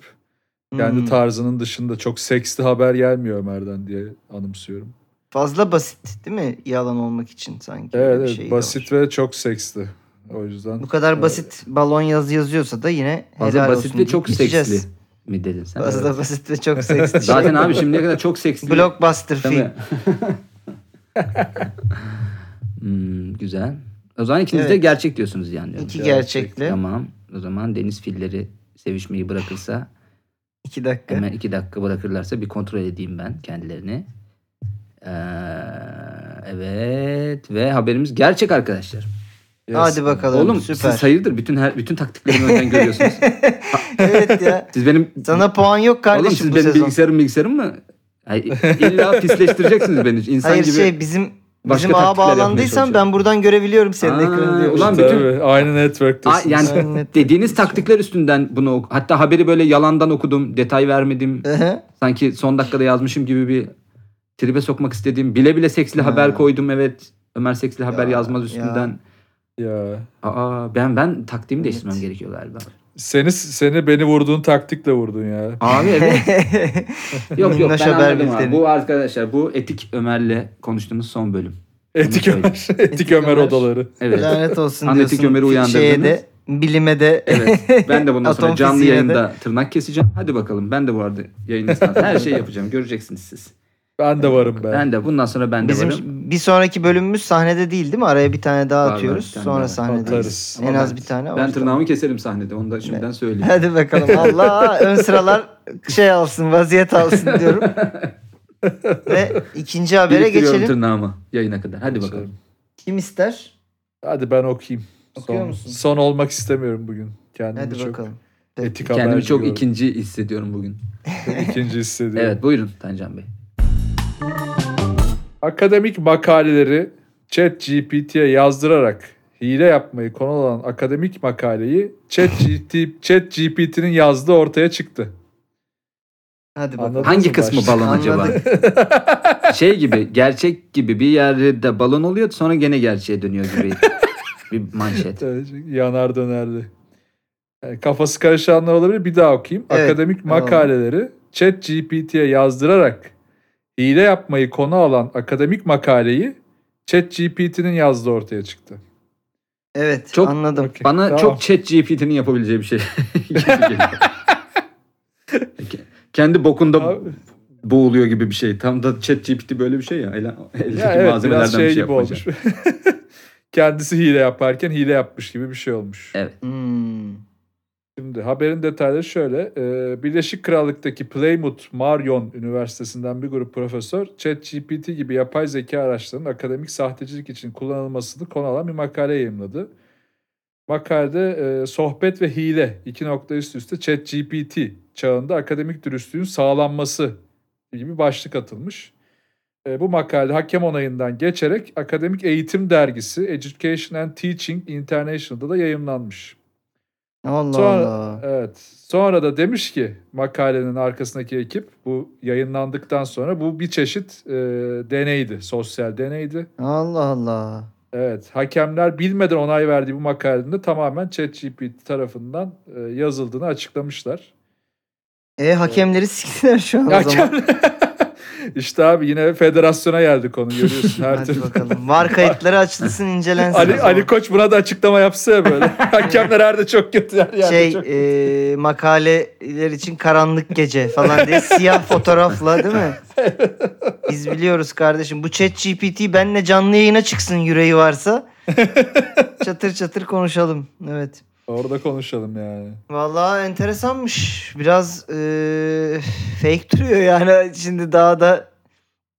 S3: kendi
S2: Hmm.
S3: tarzının dışında çok seksli haber gelmiyor Ömer'den diye anımsyorum.
S2: Fazla basit değil mi? Yalan olmak için sanki. öyle
S3: Evet,
S2: bir
S3: evet,
S2: şey de var.
S3: basit ve çok seksli. O yüzden
S2: Bu kadar basit balon yazı yazıyorsa da yine
S4: Fazla
S2: helal
S4: basit
S2: olsun
S4: ve
S2: deyip
S4: çok
S2: geçeceğiz.
S4: seksli mi dedin sen?
S2: Fazla
S4: Evet.
S2: basit ve
S4: <laughs>
S2: çok seksli.
S4: Zaten abi şimdiye kadar çok seksli.
S2: Blockbuster
S4: Değil
S2: film.
S4: mi? <laughs> Hmm, güzel. O zaman ikiniz de
S2: Evet.
S4: gerçek diyorsunuz yani.
S2: İki
S3: Gerçek.
S2: gerçekli.
S4: Tamam. O zaman deniz filleri
S2: <laughs>
S4: sevişmeyi bırakırsa
S2: İki dakika.
S4: hemen iki dakika bırakırlarsa bir kontrol edeyim ben kendilerini. Ee, evet ve haberimiz gerçek arkadaşlar.
S3: Yes.
S2: Hadi bakalım.
S4: Oğlum
S2: süper.
S4: siz hayırdır bütün her bütün taktiklerimi
S2: <laughs>
S4: önden görüyorsunuz.
S2: evet ya.
S4: Siz benim
S2: Sana puan yok
S4: Oğlum
S2: kardeşim
S4: siz
S2: bu
S4: benim
S2: sezon.
S4: bilgisayarım bilgisayarım mı? Ay,
S2: <laughs>
S4: illa pisleştireceksiniz beni. İnsan
S2: Hayır
S4: gibi.
S2: şey bizim
S4: başka
S2: bizim ağa
S4: taktikler yapmaya
S2: bağlandıysan
S4: çalışıyorum.
S2: ben buradan görebiliyorum senin
S4: Aa,
S2: ekranı diyor.
S4: ulan
S3: Tabii,
S4: bütün-
S3: aynı network'tesin.
S4: Aa, yani
S2: Sen net-
S4: dediğiniz taktikler üstünden bunu ok- hatta haberi böyle yalandan okudum, detay vermedim.
S2: <laughs> Ehe.
S4: Sanki son dakikada yazmışım gibi bir tribe sokmak istediğim. Bile bile seksli
S2: Ha.
S4: haber koydum evet. Ömer seksli haber
S2: Ya,
S4: yazmaz üstünden.
S3: ya.
S4: Aa ben ben taktiğimi
S2: Evet.
S4: değiştirmem gerekiyor galiba.
S3: Seni seni beni vurduğun taktikle vurdun ya.
S4: Abi evet.
S2: <laughs>
S4: yok yok
S2: Minnoş
S4: ben
S2: haber
S4: anladım abi.
S2: bülteni.
S4: Bu arkadaşlar bu etik Ömer'le konuştuğumuz son bölüm.
S3: Etik
S4: Onu söyle.
S3: Ömer, Etik Ömer
S2: Ömer.
S3: odaları.
S4: Evet.
S2: Lanet olsun
S4: Ahmet
S2: diyorsun.
S4: Hükümer'i uyandırdınız.
S2: Şeye de, bilime de.
S4: Evet. Ben de
S2: <laughs>
S4: bundan sonra
S2: Atom
S4: canlı
S2: fiziğine
S4: yayında tırnak keseceğim. Hadi bakalım. Ben de bu arada yayın esnasında her şeyi yapacağım. Göreceksiniz siz.
S3: Ben de varım ben.
S4: Ben de bundan sonra ben de
S2: Bizim
S4: varım.
S2: bir sonraki bölümümüz sahnede değil değil mi? Araya bir tane daha
S4: Var, var,
S2: atıyoruz.
S4: bir tane daha
S2: Sonra
S4: var.
S2: sahnedeyiz.
S3: Atarız.
S2: En
S4: Ama
S2: az
S4: ben-
S2: bir tane.
S4: Ben
S2: orada.
S4: tırnağımı keserim sahnede. Onu da şimdiden
S2: <laughs>
S4: söyleyeyim.
S2: Hadi bakalım. Allah ön sıralar şey alsın, vaziyet alsın diyorum.
S4: <laughs>
S2: Ve ikinci habere
S4: Biriktiriyorum
S2: geçelim.
S4: tırnağımı yayına kadar. Hadi bakalım.
S2: Kim ister?
S3: Şey, Hadi ben okuyayım.
S2: Okuyor
S3: son,
S2: musun?
S3: son olmak istemiyorum bugün. Kendimi
S2: Hadi
S3: çok
S2: bakalım.
S3: etik
S4: Kendimi
S3: haberci <laughs>
S4: çok
S3: görüyorum.
S4: ikinci hissediyorum bugün.
S3: ikinci hissediyorum.
S4: Evet buyurun Tancan Bey.
S3: Akademik makaleleri chat GPT'ye yazdırarak hile yapmayı konu olan akademik makaleyi chat, GT, chat GPT'nin yazdığı ortaya çıktı.
S2: Hadi bakalım.
S3: Anladım.
S4: Hangi
S3: Nasıl
S4: kısmı
S3: başlıyor?
S4: balon acaba? <laughs> şey gibi gerçek gibi bir yerde balon oluyor sonra gene gerçeğe dönüyor
S2: <laughs>
S4: gibi bir manşet.
S3: Evet, Yanar dönerdi. Yani kafası karışanlar olabilir. Bir daha okuyayım.
S2: Evet,
S3: Akademik
S2: tamam.
S3: makaleleri chat GPT'ye yazdırarak hile yapmayı konu alan akademik makaleyi ChatGPT'nin yazdığı ortaya çıktı.
S2: Evet
S4: Çok-
S2: anladım.
S3: Okey,
S4: Bana
S3: tamam.
S4: çok chat GPT'nin yapabileceği bir şey. <laughs> gibi geliyor. Kendi bokunda
S3: Abi.
S4: boğuluyor gibi bir şey. Tam da chat GPT böyle bir şey ya. Ele, eldeki
S3: Ya evet
S4: malzemelerden
S3: biraz şey,
S4: bir şey
S3: gibi
S4: yapacak.
S3: olmuş. <laughs> Kendisi hile yaparken hile yapmış gibi bir şey olmuş.
S4: Evet.
S2: Hmm.
S3: Şimdi haberin detayları şöyle. Ee, Birleşik Krallık'taki Plymouth Marion Üniversitesi'nden bir grup profesör ChatGPT gibi yapay zeka araçlarının akademik sahtecilik için kullanılmasını konu alan bir makale yayımladı. Makalede e, sohbet ve hile iki nokta üst üste ChatGPT çağında akademik dürüstlüğün sağlanması gibi bir başlık atılmış. E, bu makale hakem onayından geçerek Akademik Eğitim Dergisi Education and Teaching International'da da yayımlanmış.
S2: Allah
S3: Sonra-
S2: Allah.
S3: Evet. Sonra da demiş ki makalenin arkasındaki ekip bu yayınlandıktan sonra bu bir çeşit e, deneydi. Sosyal deneydi.
S2: Allah Allah.
S3: Evet. Hakemler bilmeden onay verdiği bu makalenin de tamamen ChatGPT tarafından e, yazıldığını açıklamışlar.
S2: E hakemleri siktiler şu an o zaman.
S3: <laughs> Hakem... işte abi yine federasyona geldi konu görüyorsun her
S2: Hadi
S3: türlü.
S2: bakalım. Var kayıtları
S4: <laughs>
S2: açılsın incelensin. o
S3: Ali,
S2: zaman.
S3: Ali Koç buna da açıklama yapsa ya
S2: <laughs>
S3: böyle. Hakemler her de çok kötü. Her yerde
S2: şey
S3: çok...
S2: e, makaleler için karanlık gece falan
S3: <laughs>
S2: diye siyah fotoğrafla değil mi? Biz biliyoruz kardeşim. Bu chat GPT benle canlı yayına çıksın yüreği
S3: <laughs>
S2: varsa. çatır çatır konuşalım. Evet.
S3: Orada konuşalım yani.
S2: Vallahi enteresanmış. Biraz e, fake duruyor yani. Şimdi daha da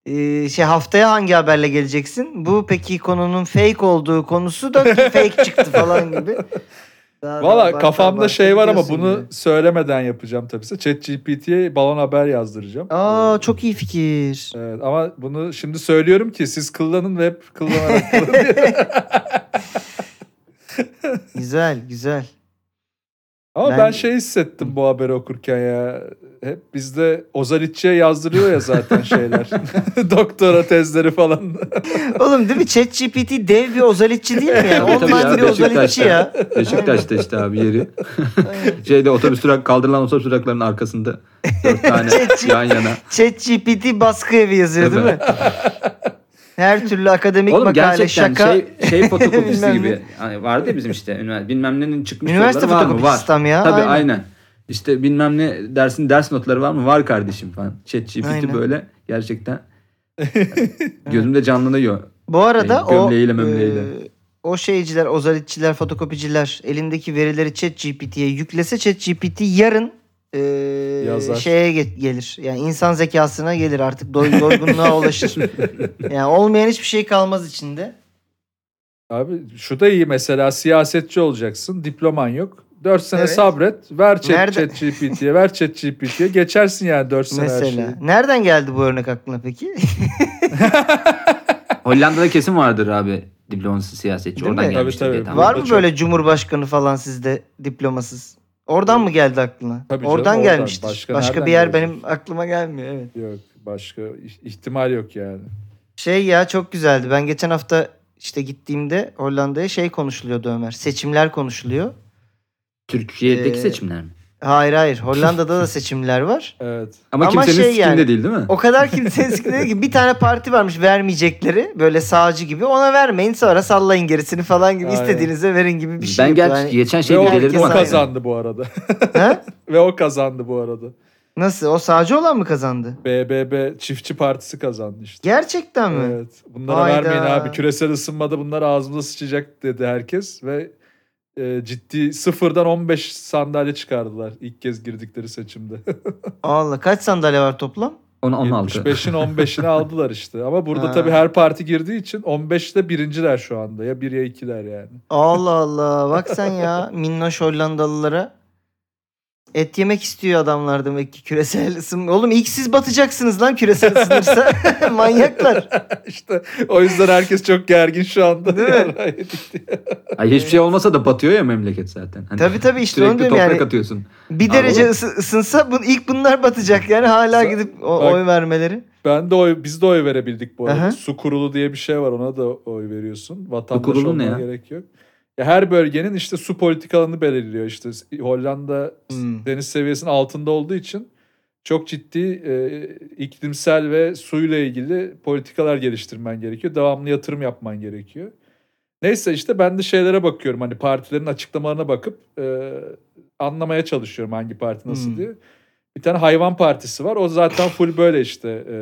S2: e, şey haftaya hangi haberle geleceksin? Bu peki konunun fake olduğu konusu da ki fake çıktı falan
S3: <laughs>
S2: gibi. Daha da
S3: Valla
S2: abartı
S3: kafamda
S2: abartı
S3: şey var ama
S2: gidiyorsun
S3: bunu
S2: gibi.
S3: söylemeden yapacağım tabii size. ChatGPT'ye balon haber yazdıracağım.
S2: Aa çok iyi fikir.
S3: Evet, ama bunu şimdi söylüyorum ki siz kullanın ve hep
S2: <laughs>
S3: kullanarak kullanın.
S2: Güzel güzel.
S3: ama ben,
S2: Ben-
S3: şey hissettim bu haberi okurken ya. Hep bizde Ozalitçi'ye yazdırıyor
S2: <laughs>
S3: ya zaten şeyler. <laughs> Doktora tezleri falan. <laughs>
S2: Oğlum değil mi? ChatGPT dev bir ozalitçi
S4: <laughs>
S2: değil mi? ya?
S4: Tabii tabii
S2: Online
S4: ya,
S2: bir ozalitçi
S4: Beşiktaş'ta.
S2: ya.
S4: Beşiktaş'ta işte abi yeri.
S2: Aynen.
S4: Şeyde otobüs durak kaldırılan otobüs duraklarının arkasında dört
S2: <laughs>
S4: tane
S2: Çeçi.
S4: yan yana.
S2: ChatGPT baskı evi yazıyor değil mi? Her türlü akademik
S4: Oğlum
S2: makale,
S4: gerçekten
S2: şaka.
S4: şey şey fotokopisi
S2: Bilmem
S4: gibi.
S2: ne.
S4: Hani vardı ya bizim işte ünivers- bilmem nenin çıkmış
S2: Üniversite
S4: soruları var mı? Var.
S2: fotokopisi tam ya.
S4: Tabii aynen. İşte bilmem ne dersin ders notları var mı? Var kardeşim falan. ChatGPT
S2: Aynen.
S4: böyle
S2: <laughs>
S4: gerçekten gözümde canlanıyor.
S2: Bu arada
S4: Şey, gömleğiyle
S2: o
S4: mömleğiyle.
S2: e, o şeyciler, ozalitçiler, fotokopiciler elindeki verileri ChatGPT'ye yüklese ChatGPT yarın e,
S3: Yazar.
S2: şeye ge- gelir. Yani insan zekasına gelir artık doy-
S4: <laughs>
S2: doygunluğa ulaşır. Yani olmayan hiçbir şey kalmaz içinde.
S3: Abi şu da iyi mesela siyasetçi olacaksın. Diploman yok. 4 sene
S2: Evet.
S3: sabret. Ver chat,
S2: Nerede-
S3: ChatGPT'ye. Ver ChatGPT'ye. Geçersin yani 4 sene her
S2: Mesela.
S3: şeyi.
S2: Nereden geldi bu örnek aklına peki?
S4: Hollanda'da kesin vardır abi diplomasi siyasetçi.
S2: Değil
S4: Oradan
S2: mi?
S4: gelmiştir
S3: Tabii,
S4: diye
S3: tabii.
S4: tahmin
S2: <laughs> Var
S4: ediyorum.
S2: mı
S3: çok.
S2: böyle cumhurbaşkanı falan sizde diplomasız? Oradan mı geldi aklına?
S3: Tabii canım,
S2: oradan
S3: oradan.
S2: gelmiştir. Başka,
S3: Başka
S2: bir
S3: nereden
S2: yer
S3: gelecek?
S2: benim aklıma gelmiyor. Evet.
S3: Yok başka ih- ihtimal yok yani.
S2: Şey ya çok güzeldi. Ben geçen hafta işte gittiğimde Hollanda'ya şey konuşuluyordu Ömer. Seçimler konuşuluyor.
S4: Türkiye'deki
S2: Ee,
S4: seçimler mi?
S2: Hayır hayır. Hollanda'da da seçimler var.
S3: Evet.
S4: Ama,
S2: ama
S4: kimsenin
S2: şey
S4: fikrinde
S2: yani-
S4: değil değil mi?
S2: O kadar kimsenin sikinde ki bir tane parti varmış vermeyecekleri böyle sağcı gibi ona vermeyin sonra sallayın gerisini falan gibi
S3: Aynen.
S2: istediğinize verin gibi bir şey.
S4: ben
S2: yok.
S4: gerçi
S2: Yani-
S4: geçen
S3: Ve
S4: şey
S3: o
S2: gelirdim
S4: delirdim
S2: herkes
S4: hatta.
S3: kazandı bu arada. <laughs>
S2: Ha?
S3: Ve o kazandı bu arada.
S2: Nasıl? O sağcı olan mı kazandı?
S3: BBB Çiftçi Partisi kazandı işte.
S2: Gerçekten mi?
S3: Evet. Bunlara
S2: Hayda.
S3: vermeyin abi. Küresel ısınmada bunlar ağzımıza sıçacak dedi herkes ve e, ciddi sıfırdan 15 sandalye çıkardılar ilk kez
S2: <laughs>
S3: girdikleri seçimde.
S2: Allah kaç sandalye var toplam?
S4: Onu 16.
S3: 75'in 15'ini aldılar işte. Ama burada
S2: Ha.
S3: tabii her parti girdiği için 15'te birinciler şu anda. Ya bir ya ikiler yani. <laughs>
S2: Allah Allah bak sen ya minnoş Hollandalılara. Et yemek istiyor adamlar demek ki küresel ısınma. Oğlum ilk siz batacaksınız lan küresel
S3: <laughs>
S2: ısınırsa. Manyaklar.
S3: işte o yüzden herkes çok gergin şu anda.
S2: Değil
S3: <laughs>
S2: mi?
S3: Yarayı-
S4: Ay hiçbir şey olmasa da batıyor ya memleket zaten. Hani
S2: Tabii tabii işte onu
S4: sürekli
S2: diyorum
S4: toprak
S2: yani.
S4: atıyorsun.
S2: Bir
S4: Abi
S2: derece
S4: oğlum.
S2: ısı- ısınsa bu, ilk bunlar batacak yani hala
S3: Sa-
S2: gidip o-
S3: bak.
S2: oy vermeleri.
S3: Ben de oy, biz de oy verebildik bu arada.
S2: Aha.
S3: Su kurulu diye bir şey var ona da oy veriyorsun. Vatandaş
S4: kurulu
S3: olmana
S4: ne ya?
S3: gerek yok. Ya her bölgenin işte su politikalarını belirliyor. İşte Hollanda
S2: Hmm.
S3: deniz seviyesinin altında olduğu için çok ciddi e, iklimsel ve suyla ilgili politikalar geliştirmen gerekiyor. Devamlı yatırım yapman gerekiyor. Neyse işte ben de şeylere bakıyorum hani partilerin açıklamalarına bakıp e, anlamaya çalışıyorum hangi parti nasıl
S2: Hmm.
S3: diye. Bir tane hayvan partisi var. O zaten full böyle işte. e,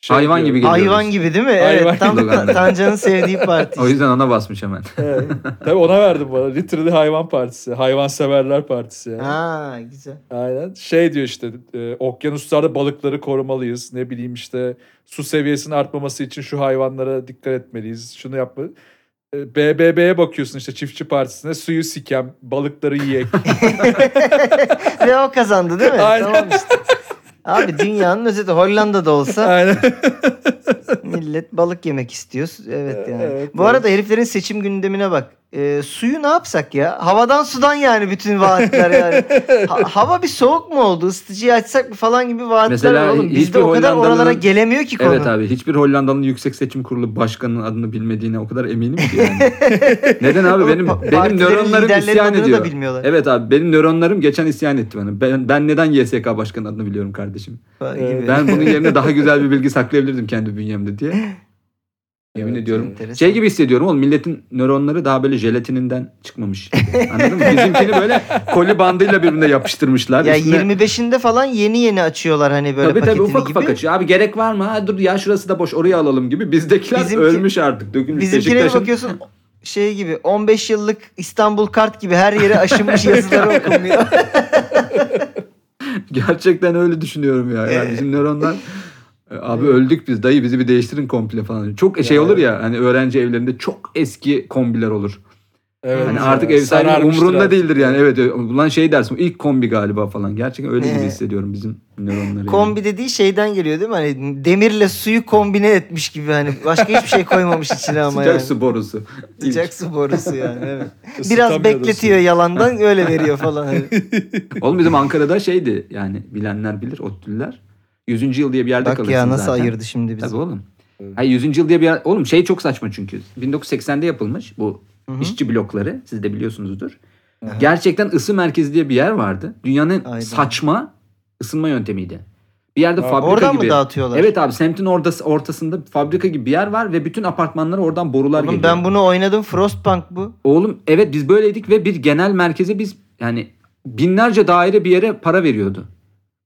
S3: şey
S4: Hayvan
S3: diyor.
S4: gibi geliyor.
S2: Hayvan gibi değil mi?
S3: Hayvan
S2: Evet tam
S4: gibi.
S2: Ta- Tancan'ın
S3: <laughs>
S2: sevdiği parti.
S4: O yüzden ona
S2: <laughs>
S4: basmış hemen.
S3: Evet. Tabii ona verdim bana. Literally hayvan partisi. Hayvanseverler partisi yani.
S2: Ha güzel.
S3: Aynen. Şey diyor işte e, okyanuslarda balıkları korumalıyız. Ne bileyim işte su seviyesinin artmaması için şu hayvanlara dikkat etmeliyiz. Şunu yapma. E, BBB'ye bakıyorsun işte çiftçi partisine suyu sikem, balıkları
S2: <laughs>
S3: yiyek.
S2: Ve o kazandı değil mi?
S3: Aynen.
S2: Tamam işte. Abi dünyanın özeti Hollanda'da olsa
S3: Aynen.
S4: Hani
S2: millet balık yemek istiyor. Evet yani.
S3: E, Evet,
S2: Bu
S3: evet.
S2: arada heriflerin seçim gündemine bak. Ee, suyu ne yapsak ya? Havadan sudan yani bütün vaatler yani.
S3: <laughs>
S2: Ha- hava bir soğuk mu oldu? Isıtıcıyı açsak mı falan gibi vaatler
S4: Mesela
S2: var oğlum.
S4: hiçbir
S2: Bizde o kadar
S4: Hollandalı'nın-
S2: oralara gelemiyor ki konu.
S4: Evet abi hiçbir Hollandalı'nın Yüksek Seçim Kurulu başkanının adını bilmediğine o kadar eminim
S2: <laughs>
S4: ki yani. Neden abi
S2: Oğlum,
S4: benim
S2: pa-
S4: benim
S2: partilerin
S4: nöronlarım
S2: liderlerin
S4: isyan
S2: adını da
S4: ediyor.
S2: bilmiyorlar.
S4: Evet abi benim nöronlarım geçen isyan etti bana. Ben, ben neden YSK başkanının adını biliyorum kardeşim?
S2: Falan
S3: Evet.
S2: gibi.
S4: Ben bunun
S2: <laughs>
S4: yerine daha güzel bir bilgi saklayabilirdim kendi bünyemde diye. Yemin
S3: Evet,
S4: ediyorum.
S2: enteresan.
S4: Şey gibi hissediyorum oğlum milletin nöronları daha böyle jelatininden çıkmamış. Anladın mı? Bizimkini böyle koli bandıyla birbirine yapıştırmışlar.
S2: Ya
S4: Üstüne-
S2: 25'inde falan yeni yeni açıyorlar hani böyle
S4: Tabii tabii
S2: paketini
S4: ufak
S2: gibi.
S4: ufak açıyor. Abi gerek var mı? Ha, dur ya şurası da boş oraya alalım gibi. Bizdekiler
S2: Bizimki-
S4: ölmüş artık. Dökülmüş
S2: Bizimkilere
S4: Beşiktaş'ın-
S2: bakıyorsun şey gibi 15 yıllık İstanbul kart gibi her yere aşınmış
S4: <laughs>
S2: yazıları okunmuyor.
S4: <laughs> Hmm. Gerçekten öyle düşünüyorum ya.
S2: Ee.
S4: Yani bizim nöronlar
S2: <laughs>
S4: e, abi öldük biz dayı bizi bir değiştirin komple falan. Çok şey
S3: Ya,
S4: olur ya hani öğrenci evlerinde çok eski kombiler olur.
S3: Evet,
S4: Hani
S3: ya,
S4: artık ev sahibi
S3: sararmıştır
S4: umrunda
S3: artık.
S4: değildir yani. Evet e, ulan şey dersin ilk kombi galiba falan. Gerçekten öyle gibi
S2: Evet.
S4: hissediyorum bizim nöronları. yani.
S2: Kombi dediği şeyden geliyor değil mi? Hani demirle suyu kombine etmiş gibi hani başka hiçbir şey koymamış içine ama
S4: Sıcak
S2: yani.
S4: su borusu.
S2: Sıcak su borusu yani evet. Biraz
S3: Isıtamıyor
S2: bekletiyor
S3: da
S2: yalandan öyle veriyor
S4: <laughs>
S2: falan. hani.
S4: Oğlum bizim Ankara'da şeydi yani bilenler bilir ODTÜ'lüler. 100. yıl diye bir yerde
S2: Bak
S4: kalırsın
S2: ya nasıl
S4: zaten.
S2: ayırdı şimdi bizi.
S4: Tabii oğlum. Hayır 100. yıl diye bir oğlum şey çok saçma çünkü. 1980'de yapılmış bu
S2: Hı hı.
S4: işçi blokları. Siz de biliyorsunuzdur. Gerçekten ısı merkezi diye bir yer vardı. Dünyanın
S2: Aynen.
S4: saçma ısınma yöntemiydi. Bir yerde
S3: Aa,
S4: fabrika
S2: Oradan
S4: gibi.
S2: mı dağıtıyorlar?
S4: Evet abi semtin ordası, ortasında fabrika gibi bir yer var ve bütün apartmanlara oradan borular
S2: Oğlum,
S4: geliyor.
S2: ben bunu oynadım Frostpunk bu.
S4: Oğlum evet biz böyleydik ve bir genel merkeze biz yani binlerce daire bir yere para veriyordu.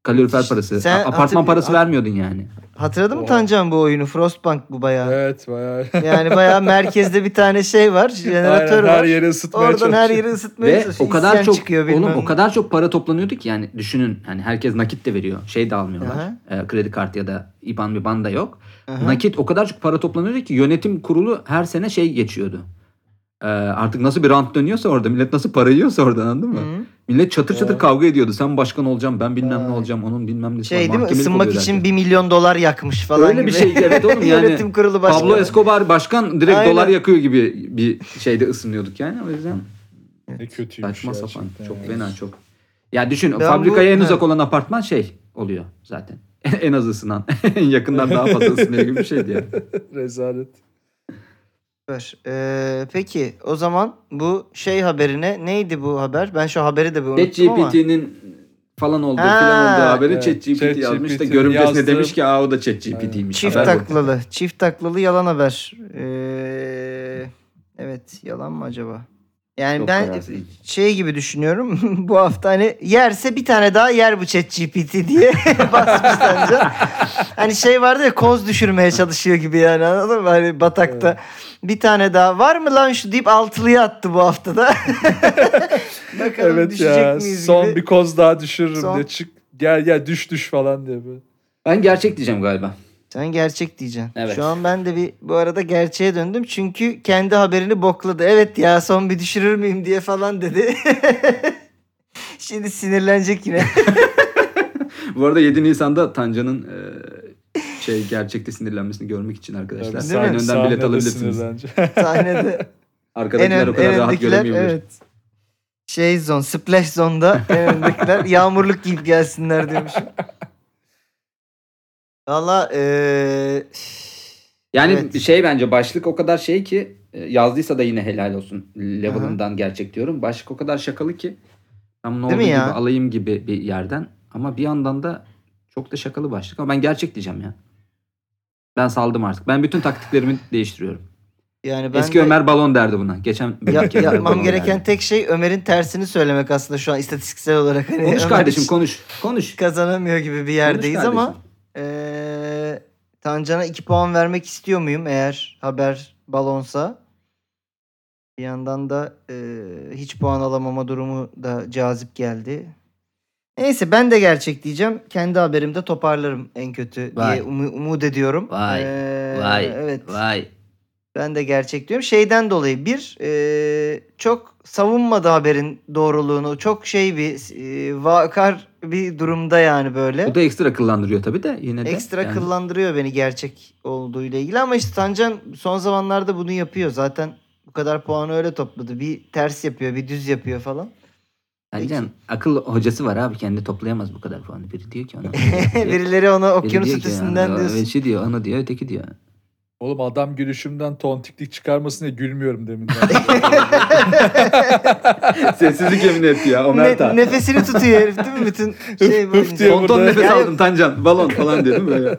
S4: Kalorifer parası.
S2: Sen
S4: A- apartman
S2: hatırlıyor-
S4: parası vermiyordun yani.
S2: Hatırladın mı
S3: Oha.
S2: Tancan bu oyunu? Frostpunk bu bayağı.
S3: diyorsun. Evet bayağı.
S2: Yani bayağı merkezde bir tane şey var. <laughs> Jeneratör
S3: Aynen,
S2: var.
S3: her yeri ısıtmaya
S2: Oradan her
S3: çalışıyor.
S2: yeri ısıtmaya
S4: Ve
S2: çalışıyor.
S4: o kadar
S2: İsyan şey
S4: çok
S2: çıkıyor bilmem
S4: oğlum
S2: ne.
S4: o kadar çok para toplanıyordu ki yani düşünün hani herkes nakit de veriyor. Şey de almıyorlar.
S2: Aha.
S4: Ee, kredi kartı ya da IBAN bir banda yok.
S2: Aha.
S4: Nakit o kadar çok para toplanıyordu ki yönetim kurulu her sene şey geçiyordu. Ee, artık nasıl bir rant dönüyorsa orada millet nasıl para yiyorsa orada anladın mı?
S2: Hı.
S4: Millet çatır çatır kavga ediyordu. Sen başkan olacağım ben bilmem ne
S2: Vay.
S4: olacağım onun bilmem ne.
S2: Şey değil mi? Isınmak için 1 milyon dolar yakmış falan
S4: Öyle bir
S2: gibi.
S4: şey
S2: <laughs>
S4: evet oğlum yani.
S2: Yönetim kurulu başkanı.
S4: Pablo Escobar başkan direkt
S2: Aynen.
S4: dolar yakıyor gibi bir şeyde ısınıyorduk yani o yüzden.
S3: Ne kötüymüş
S4: Saçma sapan.
S3: gerçekten
S4: Çok
S3: ya.
S4: fena çok. Ya düşün
S2: Ben
S4: fabrikaya
S2: bu-
S4: en
S2: Ha.
S4: uzak olan apartman şey oluyor zaten. <laughs> en az ısınan. en <laughs> yakından daha fazla ısınıyor gibi bir şeydi yani.
S3: <laughs> Rezalet.
S2: Süper. Ee, peki o zaman bu şey haberine neydi bu haber? Ben şu haberi de bir unuttum ama.
S4: ChatGPT'nin falan olduğu
S2: Ha.
S4: filan olduğu haberi
S3: Evet,
S4: ChatGPT yazmış da
S3: ChatGPT'nin
S4: görümcesine
S3: yazdığı-
S4: demiş ki aa o da ChatGPT'ymiş.
S2: Çift
S4: Haber bu.
S2: taklalı. Çift taklalı yalan haber. Ee, evet yalan mı acaba? Yani
S4: Çok
S2: ben
S4: kararsız.
S2: şey gibi düşünüyorum. <laughs> bu hafta hani yerse bir tane daha yer bu chat GPT diye <laughs> basmış sence. hani şey vardı ya koz düşürmeye çalışıyor gibi yani anladın mı? Hani batakta. Bir tane daha var mı lan şu deyip altılıya attı bu haftada. <laughs> Bakalım
S3: evet
S2: düşecek
S3: ya
S2: miyiz
S3: son
S2: gibi.
S3: bir koz daha düşürürüm
S2: Son-
S3: diye çık gel gel düş düş falan diye böyle.
S4: Ben gerçek diyeceğim galiba.
S2: Sen gerçek diyeceksin.
S4: Evet.
S2: Şu an ben de bir bu arada gerçeğe döndüm. Çünkü kendi haberini bokladı. Evet ya son bir düşürür müyüm diye falan dedi. <laughs> Şimdi sinirlenecek yine. <laughs>
S4: Bu arada 7 Nisan'da Tancan'ın e, şey gerçekte sinirlenmesini görmek için
S3: Evet,
S4: arkadaşlar.
S2: mi?
S4: Sayın önden
S3: sahnede
S4: bilet alabilirsiniz.
S3: sinirlenci.
S2: Sahnede.
S4: Arkadakiler o kadar rahat göremiyorlar.
S2: Şey zon, splash zonda en
S4: <laughs>
S2: öndekiler yağmurluk giyip gelsinler demişim. Valla eee,
S4: Yani
S2: Evet.
S4: şey bence başlık o kadar şey ki e, yazdıysa da yine helal olsun. Level'ından gerçek diyorum. Başlık o kadar şakalı ki tam ne
S2: Değil mi
S4: olduğu gibi
S2: ya?
S4: alayım gibi bir yerden. Ama bir yandan da Çok da şakalı başlık ama ben gerçek diyeceğim ya. Ben saldım artık. Ben bütün taktiklerimi
S2: <laughs>
S4: değiştiriyorum.
S2: Yani ben
S4: Eski
S2: de-
S4: Ömer balon derdi buna. Geçen <laughs>
S2: Ya-
S4: bölümdeki Ömer
S2: yapmam
S4: balon
S2: gereken
S4: derdi.
S2: tek şey Ömer'in tersini söylemek aslında şu an istatistiksel olarak. Hani
S4: Konuş
S2: Ömer
S4: kardeşim
S2: hiç
S4: konuş. Konuş.
S2: kazanamıyor gibi bir
S4: Konuş
S2: yerdeyiz ama
S4: kardeşim.
S2: eee Tancan'a 2 puan vermek istiyor muyum eğer haber balonsa? Bir yandan da eee, hiç puan alamama durumu da cazip geldi. Neyse ben de gerçek diyeceğim. Kendi haberimde toparlarım en kötü
S4: Vay.
S2: diye umu- umut ediyorum.
S4: Vay,
S2: Eee,
S4: Vay
S2: Evet.
S4: vay.
S2: Ben de gerçek diyorum. Şeyden dolayı bir e, çok savunmadı haberin doğruluğunu. Çok şey bir e, vakar bir durumda yani böyle.
S4: Bu da ekstra akıllandırıyor tabii de yine de.
S2: Ekstra
S4: Yani
S2: kıllandırıyor beni gerçek olduğu ile ilgili ama işte Tancan son zamanlarda bunu yapıyor. Zaten bu kadar puanı öyle topladı. Bir ters yapıyor, bir düz yapıyor falan. <laughs>
S4: Tancan, akıl hocası var abi kendi toplayamaz bu kadar puanı. Biri diyor ki
S2: <laughs>
S4: ona. Biri
S2: Birileri ona okyanus
S4: diyor ki
S2: ötesinden
S4: ona,
S2: diyorsun.
S4: Öteki diyor onu diyor öteki diyor.
S3: Oğlum adam gülüşümden tontiklik çıkarmasın diye gülmüyorum deminden.
S4: <laughs>
S2: <laughs>
S4: Sessizlik yemin etti ya
S2: Ne- nefesini tutuyor herif değil mi bütün şey
S3: Hıf hıf
S2: boyunca?
S3: diyor.
S4: Ton ton
S3: burada-
S4: nefes
S2: Ya-
S4: aldım Tancan. Balon falan diyor değil mi böyle?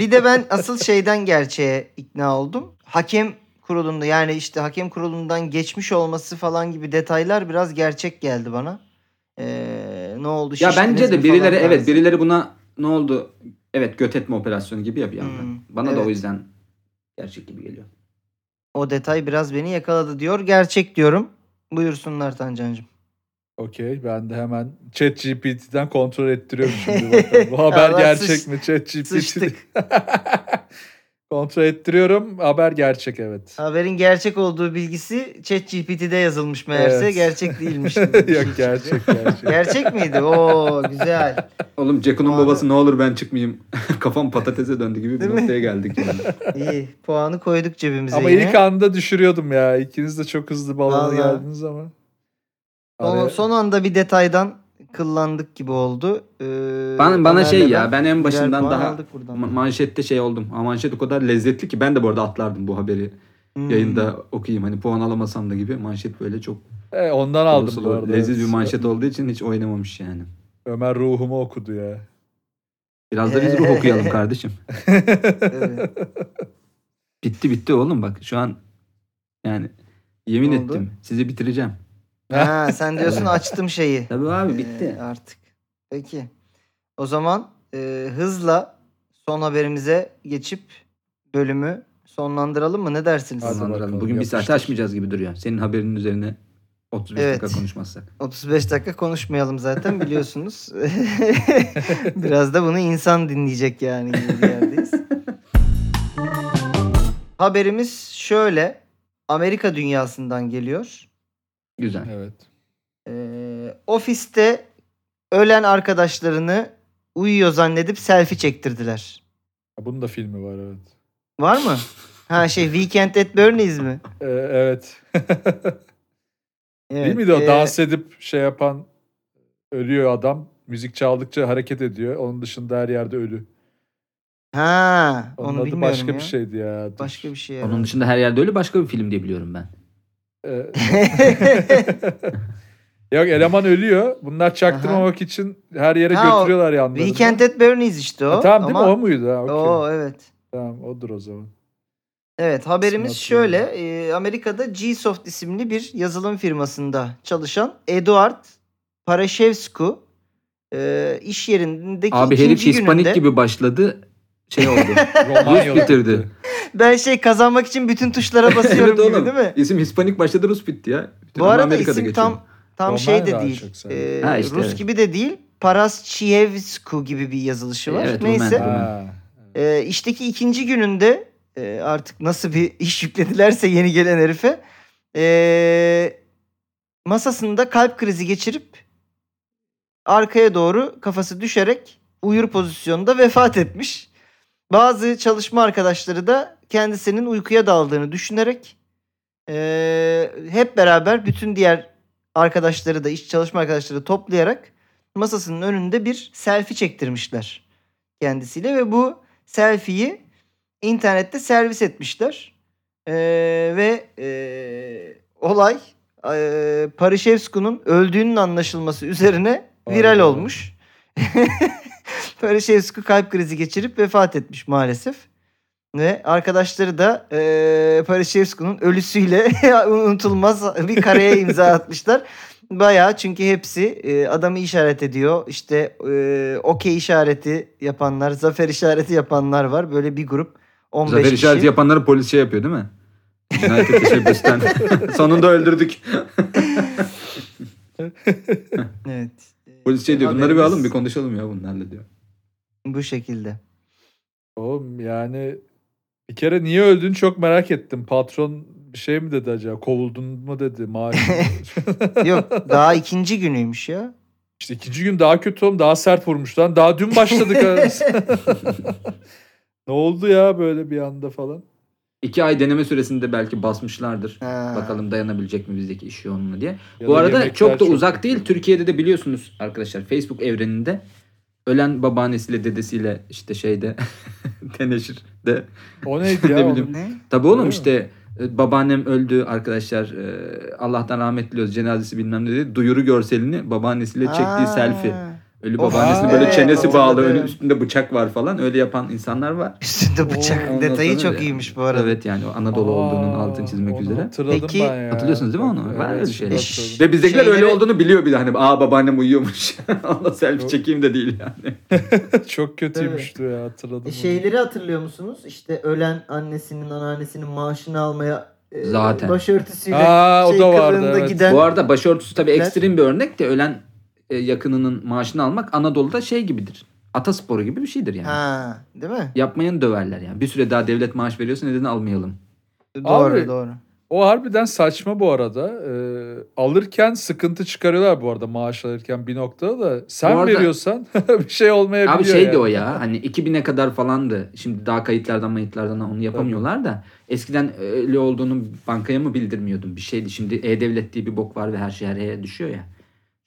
S2: Bir de ben asıl şeyden gerçeğe ikna oldum. Hakem kurulunda yani işte hakem kurulundan geçmiş olması falan gibi detaylar biraz gerçek geldi bana. Ee, ne oldu?
S4: <laughs> Ya
S2: şiştiniz
S4: bence
S2: mi
S4: de
S2: falan
S4: birileri evet
S2: tarzı.
S4: birileri buna ne oldu? Evet göt etme operasyonu gibi ya bir yandan.
S2: Hmm,
S4: Bana da
S2: evet.
S4: o yüzden gerçek gibi geliyor.
S2: O detay biraz beni yakaladı diyor. Gerçek diyorum. Buyursunlar Tancancığım.
S3: Okey ben de hemen chat GPT'den kontrol ettiriyorum
S2: <laughs>
S3: şimdi bakalım. Bu haber
S2: Allah
S3: gerçek
S2: sıç-
S3: mi chat GPT?
S2: Sıçtık.
S3: kontrol ettiriyorum haber gerçek evet.
S2: Haberin gerçek olduğu bilgisi ChatGPT'de yazılmış meğerse
S3: Evet.
S2: gerçek
S3: <laughs>
S2: değilmiş.
S3: <laughs> Yok
S2: <laughs>
S3: gerçek gerçek.
S2: gerçek miydi? Oo güzel.
S4: Oğlum Ceko'nun
S2: Abi-
S4: babası ne olur ben çıkmayayım. <laughs> Kafam patatese döndü gibi bir
S2: Değil mi?
S4: noktaya
S2: <laughs>
S4: geldik yani.
S2: İyi. Puanı koyduk cebimize
S3: ama
S2: yine.
S3: ilk anda düşürüyordum ya. İkiniz de çok hızlı balona
S2: Vallahi.
S3: geldiniz ama. Hani,
S2: Son,
S3: Araya-
S2: son anda bir detaydan kıllandık gibi oldu. Ee,
S4: Bana, bana
S2: Ömer'le
S4: şey ya ben en
S2: birer
S4: başından
S2: puan
S4: daha
S2: aldık buradan.
S4: ma- manşette şey oldum. Ha, manşet o kadar lezzetli ki ben de bu arada atlardım bu haberi.
S2: Hmm.
S4: Yayında okuyayım hani puan alamasam da gibi. Manşet böyle çok
S3: E, ondan
S4: sulu
S3: aldım bu
S4: sulu,
S3: arada.
S4: leziz
S3: evet.
S4: bir manşet olduğu için hiç oynamamış yani.
S3: Ömer ruhumu okudu ya.
S4: Biraz da biz ruh okuyalım kardeşim.
S2: Evet.
S4: Bitti bitti oğlum bak şu an yani yemin
S2: Ne oldu?
S4: ettim sizi bitireceğim.
S2: ha, sen diyorsun açtım şeyi.
S4: Tabii abi
S2: Ee,
S4: <laughs> bitti.
S2: artık. Peki. O zaman e, hızla son haberimize geçip bölümü sonlandıralım mı? Ne dersiniz?
S3: Hadi.
S4: Sonlandıralım.
S3: bakalım,
S4: Bugün bir saati
S3: yapıştır.
S4: aşmayacağız gibi duruyor. Senin haberinin üzerine 35
S2: Evet.
S4: dakika konuşmazsak.
S2: 35 dakika konuşmayalım zaten biliyorsunuz. <laughs> Biraz da bunu insan dinleyecek yani gibi bir yerdeyiz. Haberimiz şöyle. Amerika dünyasından geliyor.
S4: Güzel.
S3: <laughs> Evet.
S2: Ee, ofiste ölen arkadaşlarını uyuyor zannedip selfie çektirdiler.
S3: Bunun da filmi var evet.
S2: Var mı? Ha şey Weekend at Bernie's mi?
S3: E, evet.
S2: Evet.
S3: Değil miydi o
S2: ee,
S3: dans edip şey yapan ölüyor adam. Müzik çaldıkça hareket ediyor. Onun dışında her yerde ölü.
S2: Ha
S3: Onun
S2: onu
S3: adı
S2: bilmiyorum
S3: başka
S2: ya.
S3: bir şey. şeydi ya. Dur.
S2: Başka bir şey.
S4: Onun dışında her yerde öyle başka bir film diye biliyorum ben.
S3: Ee,
S2: herhalde.
S3: <laughs> Yok eleman ölüyor. Bunlar çaktırmamak için her yere
S2: Ha, o
S3: götürüyorlar
S2: <laughs>
S3: yanlarında.
S2: Weekend at Bernie's işte o.
S3: Ha, E, tamam değil mi?
S2: Ama-
S3: O muydu? Ha, okey.
S2: Oo evet.
S3: Tamam odur o
S2: <laughs>
S3: zaman.
S2: Evet haberimiz
S3: İsmini
S2: şöyle.
S3: hatırlıyorum.
S2: e, Amerika'da Gsoft isimli bir yazılım firmasında çalışan Eduard Paraşevsku e, iş yerindeki
S4: Abi herif
S2: ikinci
S4: Hispanik
S2: gününde.
S4: gibi başladı. Şey oldu.
S3: Romanyalı.
S4: bitirdi.
S2: Ben şey kazanmak için bütün tuşlara basıyorum
S4: evet
S2: gibi
S4: oğlum.
S2: değil mi?
S4: İsim Hispanik başladı Rus bitti ya. Bütün
S2: Bu arada
S4: Amerika'da
S2: isim
S4: geçiyor.
S2: tam tam
S3: Roman
S2: şey de
S3: daha
S2: değil.
S3: çok
S2: e,
S4: Ha, işte
S2: Rus
S4: evet.
S2: gibi de değil. Paraşevsku gibi bir yazılışı var.
S4: E, Evet,
S2: Neyse.
S4: Rumen.
S3: Ha.
S2: E, işteki ikinci gününde e, artık nasıl bir <laughs> iş yükledilerse yeni gelen herife e, masasında kalp krizi geçirip arkaya doğru kafası düşerek uyur pozisyonda vefat etmiş. Bazı çalışma arkadaşları da kendisinin uykuya daldığını düşünerek e, hep beraber bütün diğer arkadaşları da iş çalışma arkadaşları toplayarak masasının önünde bir selfie çektirmişler kendisiyle ve bu selfie'yi internette servis etmişler. Ee, ve ee, olay ee, <laughs> Parishevsku'nun öldüğünün anlaşılması üzerine
S3: Vay
S2: viral
S3: be.
S2: olmuş. Parashevsky kalp krizi geçirip vefat etmiş maalesef. Ve arkadaşları da eee Parashevsky'nin ölüsüyle <laughs> unutulmaz bir kareye
S4: <laughs>
S2: imza atmışlar. Bayağı çünkü hepsi eee, adamı işaret ediyor. İşte eee, okey işareti yapanlar, zafer işareti yapanlar var. Böyle bir grup 15
S4: Zafer
S2: kişi.
S4: işareti yapanları polis şey yapıyor değil mi? Cinayete <laughs> teşebbüsten. Sonunda öldürdük.
S2: Evet.
S4: Polis şey diyor bunları bir
S2: Haberimiz
S4: alın bir konuşalım ya bunlarla diyor.
S2: Bu şekilde.
S3: Oğlum yani bir kere niye öldün çok merak ettim. Patron bir şey mi dedi acaba? Kovuldun mu dedi maaş.
S2: Yok daha ikinci günüymüş ya.
S3: işte ikinci gün daha kötü oğlum. Daha sert vurmuş lan. Daha dün başladık. ha. ne oldu ya böyle bir anda falan.
S4: İki ay deneme süresinde belki basmışlardır.
S2: Ha.
S4: Bakalım dayanabilecek mi bizdeki iş yoğunluğu diye.
S3: Ya
S4: Bu
S3: da
S4: arada
S3: yemekler
S4: çok da uzak değil.
S3: kötü.
S4: Türkiye'de de biliyorsunuz arkadaşlar Facebook evreninde ölen babaannesiyle dedesiyle işte şeyde <laughs> teneşirde.
S3: O neydi
S4: Ne
S3: ya?
S4: bileyim.
S3: Onun-
S2: Ne?
S4: Tabii oğlum
S3: Öyle mi?
S4: işte e, babaannem öldü arkadaşlar e, Allah'tan rahmet diliyoruz cenazesi bilmem ne dedi. Duyuru görselini babaannesiyle çektiği
S2: Aa.
S4: selfie. Ölü
S2: Of,
S4: babaannesinin
S3: aa,
S4: böyle
S3: evet,
S4: çenesi bağlı,
S2: hatırladım.
S4: önü üstünde bıçak var falan. Öyle yapan insanlar var.
S2: Üstünde bıçak
S4: Ondan
S2: detayı
S4: sonra
S2: çok
S4: da-
S2: iyiymiş bu arada.
S4: Evet yani o Anadolu olduğunun
S3: Aa,
S4: altını çizmek
S3: onu
S4: üzere.
S3: hatırladım
S2: Peki,
S3: ben ya.
S4: hatırlıyorsunuz değil mi onu?
S3: Bak,
S4: Var öyle şeyler.
S3: hatırladım.
S4: Ve bizdekiler öyle
S2: Şeyleri-
S4: olduğunu biliyor bir de hani aa babaannem uyuyormuş. <laughs> Ona selfie
S3: Yok.
S4: çekeyim de değil yani.
S3: <laughs> Çok kötüymüştü ya hatırladım. onu.
S2: E, Şeyleri hatırlıyor musunuz? İşte ölen annesinin, anneannesinin maaşını almaya e,
S4: Zaten.
S2: başörtüsüyle
S3: Aa, o
S2: şey
S3: da vardı,
S2: kılığında
S3: evet.
S2: giden.
S4: Bu arada başörtüsü tabii
S2: Evet.
S4: ekstrem bir örnek de ölen e, yakınının maaşını almak Anadolu'da şey gibidir. Atasporu gibi bir şeydir yani.
S2: Ha, değil mi?
S4: Yapmayanı döverler yani. Bir süre daha devlet maaş veriyorsa neden almayalım?
S3: E,
S2: Doğru,
S3: Abi-
S2: doğru.
S3: O harbiden saçma bu arada. Ee, alırken sıkıntı çıkarıyorlar bu arada maaş alırken bir noktada da. Sen
S4: Bu arada-
S3: veriyorsan <laughs> bir şey olmayabiliyor.
S4: Abi şeydi
S3: yani.
S4: o ya hani 2000'e kadar falandı. Şimdi daha kayıtlardan mayıtlardan onu yapamıyorlar da. Eskiden öyle olduğunu bankaya mı bildirmiyordun bir şeydi. Şimdi E-Devlet diye bir bok var ve her şey her yere düşüyor ya.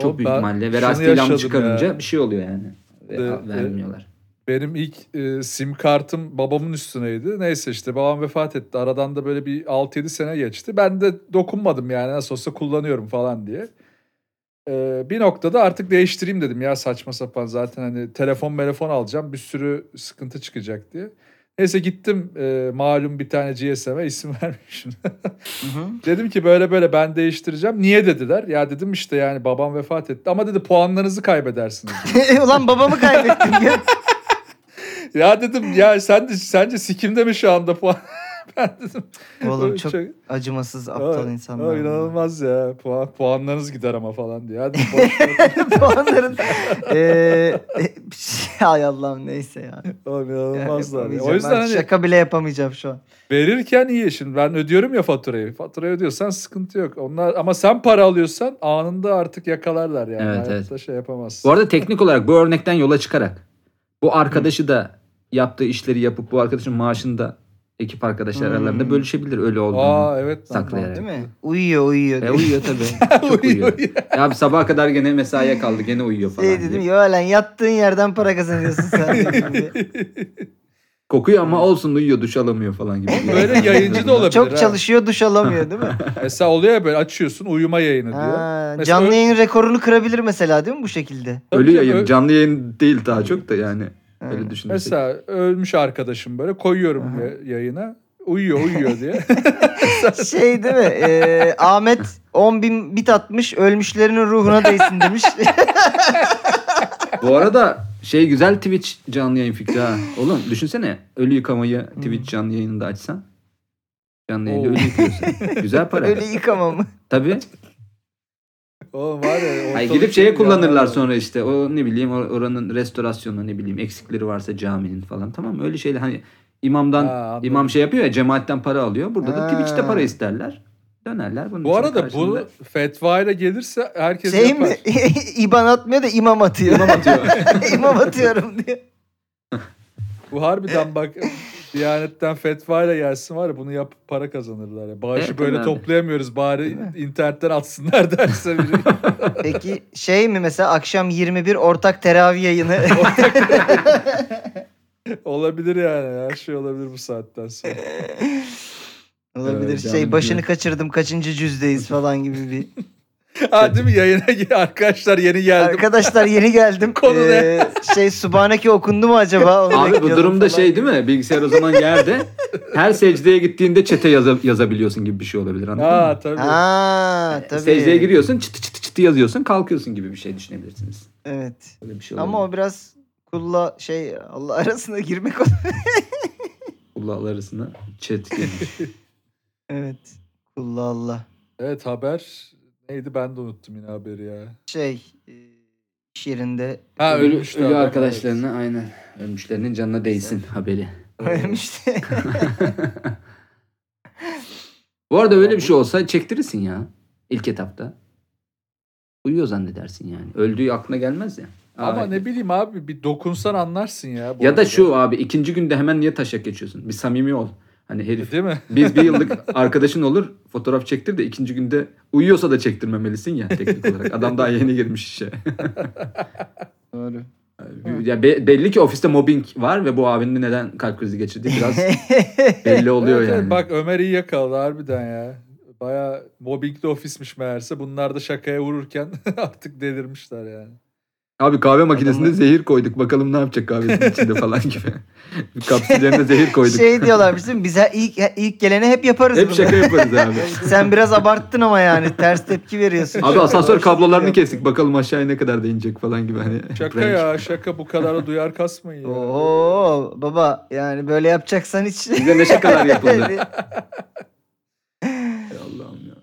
S4: Çok
S3: O
S4: büyük
S3: ben
S4: ihtimalle
S3: şunu
S4: verasite ilan
S3: yaşadım
S4: çıkarınca
S3: ya. e,
S4: bir şey oluyor yani. Ve
S3: Evet,
S4: a-
S3: evet.
S4: vermiyorlar.
S3: Benim ilk e, sim kartım babamın üstüneydi. Neyse işte babam vefat etti. Aradan da böyle bir 6-7 sene geçti. Ben de dokunmadım yani nasıl olsa kullanıyorum falan diye. Ee, bir noktada artık değiştireyim dedim ya saçma sapan zaten hani telefon telefon alacağım bir sürü sıkıntı çıkacak diye. Neyse gittim e, malum bir tane GSM'e e isim <laughs> vermişim.
S2: Hı hı.
S3: Dedim ki böyle böyle ben değiştireceğim. Niye dediler? Ya dedim işte yani babam vefat etti. Ama dedi puanlarınızı kaybedersiniz. <laughs>
S2: <laughs> Ulan babamı kaybettim ya.
S3: ya dedim ya sen de, sence sikimde mi şu anda puan? ben dedim.
S2: Oğlum çok acımasız aptal
S3: Aa,
S2: insanlar.
S3: aa,
S2: bunlar.
S3: inanılmaz ya. Puan, puanlarınız gider ama falan diye. Hadi
S2: <laughs>
S3: boş ver.
S2: Onların Ee, e, <laughs> hay Allah'ım neyse ya.
S3: Oğlum
S2: Ya
S3: inanılmazlar. ya.
S2: yapamayacağım.
S3: O yüzden
S2: Ben
S3: hani
S2: şaka bile yapamayacağım şu an.
S3: verirken iyi. Şimdi ben ödüyorum ya faturayı. Faturayı ödüyorsan sıkıntı yok. Onlar ama sen para alıyorsan anında artık yakalarlar yani.
S4: Evet, evet.
S3: Hayatta şey yapamazsın.
S4: Bu arada teknik olarak bu örnekten yola çıkarak bu arkadaşı da yaptığı işleri yapıp bu arkadaşın maaşını da ekip arkadaşlar
S2: Hmm.
S4: aralarında bölüşebilir öyle olduğunu.
S3: Aa evet. lan.
S4: saklayarak.
S2: Değil mi? Uyuyor uyuyor.
S4: E
S2: diyor.
S4: uyuyor
S3: <laughs>
S4: tabii. Çok uyuyor. Ya bir sabaha kadar gene mesaiye kaldı. Gene uyuyor falan.
S2: Şey dedim
S4: diye.
S2: ya lan yattığın yerden para kazanıyorsun
S3: <laughs>
S2: sen. dedim diye.
S4: Kokuyor ama olsun uyuyor duş alamıyor falan gibi.
S3: <laughs> Böyle yayıncı da olabilir.
S2: Çok
S3: ha.
S2: çalışıyor duş alamıyor değil mi?
S3: Mesela oluyor ya böyle açıyorsun uyuma yayını diyor.
S2: Ha,
S3: Mesela
S2: canlı
S3: ö-
S2: yayın rekorunu kırabilir mesela değil mi bu şekilde?
S3: Tabii
S4: Ölü
S3: canım,
S4: yayın
S3: ö-
S4: canlı yayın değil daha çok da yani. Öyle düşünürsek.
S3: Mesela ölmüş arkadaşım böyle koyuyorum
S2: Aha.
S3: ya- yayına. Uyuyor
S2: <laughs>
S3: uyuyor diye.
S2: Şey değil mi? Ee, Ahmet 10 bin bit atmış ölmüşlerin ruhuna değsin demiş.
S4: Bu arada şey güzel Twitch canlı yayın fikri ha. Oğlum düşünsene ölü yıkamayı Twitch canlı yayınında açsan. Canlı yayında
S3: Hmm. Oo.
S4: ölü
S3: <laughs>
S4: yıkıyorsun. Güzel para.
S2: Öyle yıkamam.
S4: Tabii.
S3: Oğlum var ya.
S4: Hayır,
S3: ortalık şey
S4: gidip şeye
S3: bir yanar
S4: kullanırlar
S3: ya.
S4: sonra işte. O ne bileyim or- oranın restorasyonu ne bileyim eksikleri varsa caminin falan tamam mı? Öyle şeyler hani imamdan
S3: Ha, anladım.
S4: imam şey yapıyor ya cemaatten para alıyor. Burada da
S2: Ha.
S4: Twitch'te para isterler. Dönerler bunun
S3: Bu
S4: için
S3: arada
S4: karşılığında-
S3: bu fetva ile gelirse herkes
S2: Şey mi?
S3: yapar.
S2: <laughs> İban atmıyor da imam atıyor. <laughs> İmam atıyor. imam atıyorum diye.
S3: Bu
S2: E-
S3: harbiden bak Diyanetten fetva ile gelsin var ya bunu yapıp para kazanırlar. Ya. Bağışı
S4: Evet,
S3: böyle
S4: abi.
S3: toplayamıyoruz bari internetten atsınlar <laughs> derse biri.
S2: Peki şey mi mesela akşam 21 ortak teravih yayını. <laughs>
S3: olabilir yani her şey olabilir bu saatten sonra.
S2: <laughs> Olabilir
S4: Evet,
S2: şey
S4: yani
S2: başını
S4: bir-
S2: kaçırdım kaçıncı cüzdeyiz falan gibi bir.
S3: ha değil mi? Yayına gir- arkadaşlar yeni geldim.
S2: Arkadaşlar yeni geldim.
S3: Konu ne?
S2: Ee, şey Subhaneke okundu mu acaba? Onu
S4: Abi bu
S2: bekliyordum
S4: durumda
S2: falan.
S4: şey değil mi? Bilgisayar o zaman yerde. Her secdeye gittiğinde çete yaza- yazabiliyorsun gibi bir şey olabilir anladın
S3: Ha
S4: mı?
S3: tabii.
S2: Ha tabii.
S4: Secdeye giriyorsun çıtı çıtı çıtı yazıyorsun kalkıyorsun gibi bir şey düşünebilirsiniz.
S2: Evet.
S4: Böyle bir şey olabilir.
S2: Ama o biraz kulla şey Allah <laughs> arasına girmek olur.
S4: Allah arasında
S3: <laughs>
S4: chat girmiş.
S2: evet. Kulla Allah.
S3: Evet haber neydi ben de unuttum yine haberi ya.
S2: Şey e, iş yerinde
S3: Ha
S4: ölü,
S3: ölmüştü
S4: ölü
S3: adam, evet.
S4: arkadaşlarına aynen. Ölmüşlerinin canına değsin haberi. <laughs>
S2: ölmüştü.
S4: Bu arada öyle bir şey olsa çektirirsin ya. ilk etapta. Uyuyor zannedersin yani. Öldüğü aklına gelmez ya.
S3: Ama
S4: Abi.
S3: ne bileyim abi bir dokunsan anlarsın ya. bu
S4: Ya da
S3: arada.
S4: şu abi ikinci günde hemen niye taşak geçiyorsun? Bir samimi ol. Hani herif
S3: E, Değil mi?
S4: biz bir yıllık arkadaşın olur fotoğraf çektir de ikinci günde uyuyorsa da çektirmemelisin ya teknik olarak. Adam daha yeni girmiş işe.
S2: Doğru.
S4: ya be- belli ki ofiste mobbing var ve bu abinin neden kalp krizi geçirdiği
S3: <laughs>
S4: biraz belli oluyor
S3: Evet, evet.
S4: yani.
S3: Bak Ömer iyi yakaladı harbiden ya. Baya mobbingli ofismiş meğerse. Bunlar da şakaya vururken <laughs> artık delirmişler yani.
S4: Abi kahve makinesinde
S2: Adamı-
S4: zehir koyduk. Bakalım ne yapacak kahvesinin içinde <laughs> falan gibi. Kapsüllerine zehir koyduk.
S2: Şey diyorlarmış değil mi? Biz her- ilk, ilk gelene hep yaparız
S4: Hep şey-
S2: bunu.
S4: şaka yaparız abi.
S2: <laughs>
S4: <laughs>
S2: Sen biraz abarttın ama yani ters tepki veriyorsun.
S4: Abi asansör kablolarını
S2: Yaptın.
S4: kestik. Bakalım aşağıya ne kadar da inecek falan gibi. Hani
S3: Şaka
S4: prank.
S3: ya şaka bu kadar da duyar kasmayın
S4: <laughs>
S3: ya.
S2: Oo baba yani böyle yapacaksan hiç.
S4: Bize ne şakalar yapıldı. Ey Allah'ım ya.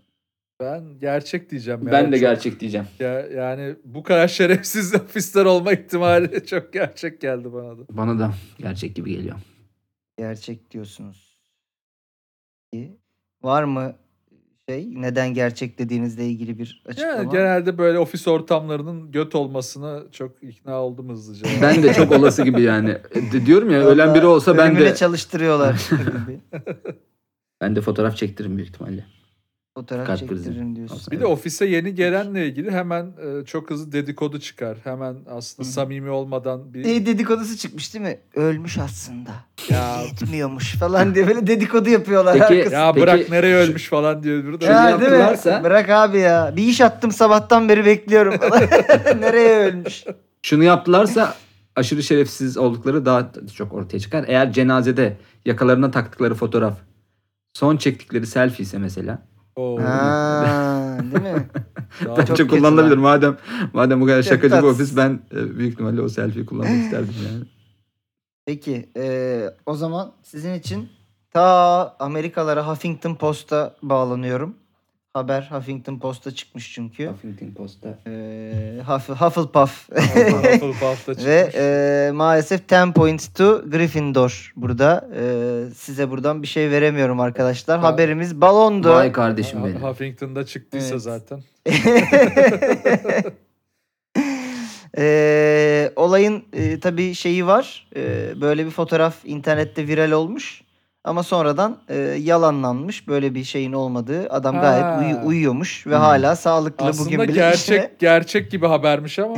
S3: Ben gerçek diyeceğim. ya.
S4: Ben de
S3: Çok-
S4: gerçek diyeceğim.
S3: ya- yani bu kadar şerefsiz <laughs> ofisler olma ihtimali <laughs> çok gerçek geldi bana da.
S4: Bana da gerçek gibi geliyor.
S2: <laughs> gerçek diyorsunuz. İyi. Var mı şey neden gerçek dediğinizle ilgili bir açıklama?
S3: Yani genelde böyle ofis ortamlarının göt olmasına çok ikna oldum hızlıca.
S4: Ben de çok olası gibi <laughs> yani. E, diyorum ya ölen
S2: Vallahi
S4: biri olsa ben
S2: ölümüne
S4: de <laughs>
S2: çalıştırıyorlar gibi.
S4: ben de fotoğraf çektiririm büyük ihtimalle.
S2: Fotoğraf
S4: Kalp krizi.
S2: çektiririm diyorsun.
S3: Bir de ofise yeni gelenle ilgili hemen e, çok hızlı dedikodu çıkar. Hemen aslında samimi olmadan bir
S2: Şey dedikodusu çıkmış değil mi? Ölmüş aslında.
S3: ya,
S2: Yetmiyormuş falan diye böyle dedikodu yapıyorlar.
S4: Peki-
S2: arkasında.
S3: ya
S4: Peki-
S3: bırak nereye ölmüş falan diyor. biri de.
S4: Şöyle
S2: Ya, değil mi?
S4: yaptılarsa-
S2: Bırak abi ya. Bir iş attım sabahtan beri
S4: <laughs>
S2: bekliyorum <laughs> falan. Nereye ölmüş?
S4: Şunu yaptılarsa aşırı şerefsiz oldukları daha çok ortaya çıkar. Eğer cenazede yakalarına taktıkları fotoğraf son çektikleri selfie ise mesela.
S3: Oo,
S2: Ha, değil mi?
S3: daha-
S4: Bence
S2: kötü
S4: kullanılabilir.
S2: lan.
S4: Madem madem bu kadar
S2: Çok
S4: şakacı bir
S2: tatsız.
S4: ofis ben e, büyük ihtimalle o selfie'yi kullanmak isterdim yani.
S2: Peki eee, o zaman sizin için ta Amerikalara Huffington Post'a bağlanıyorum. Haber Huffington Post'a çıkmış çünkü.
S4: <laughs> Huffington Post'ta.
S2: Eee, Huff- Hufflepuff.
S3: Hufflepuff'ta çıkmış.
S2: Ve eee, maalesef 10 points to Gryffindor burada. Eee, size buradan bir şey veremiyorum arkadaşlar.
S3: Tamam.
S2: Haberimiz balondu.
S4: Vay kardeşim
S3: Ha-
S4: benim.
S3: Huffington'da çıktıysa
S2: Evet.
S3: zaten.
S2: Eee, E, olayın tabi tabii şeyi var. Eee, böyle bir fotoğraf internette viral olmuş. Ama sonradan eee, yalanlanmış. Böyle bir şeyin olmadığı. Adam gayet
S3: Ha.
S2: uyu- uyuyormuş ve
S4: Hmm.
S2: hala sağlıklı bugün
S3: Aslında
S2: bile.
S3: gerçek
S2: işine.
S3: gerçek gibi habermiş ama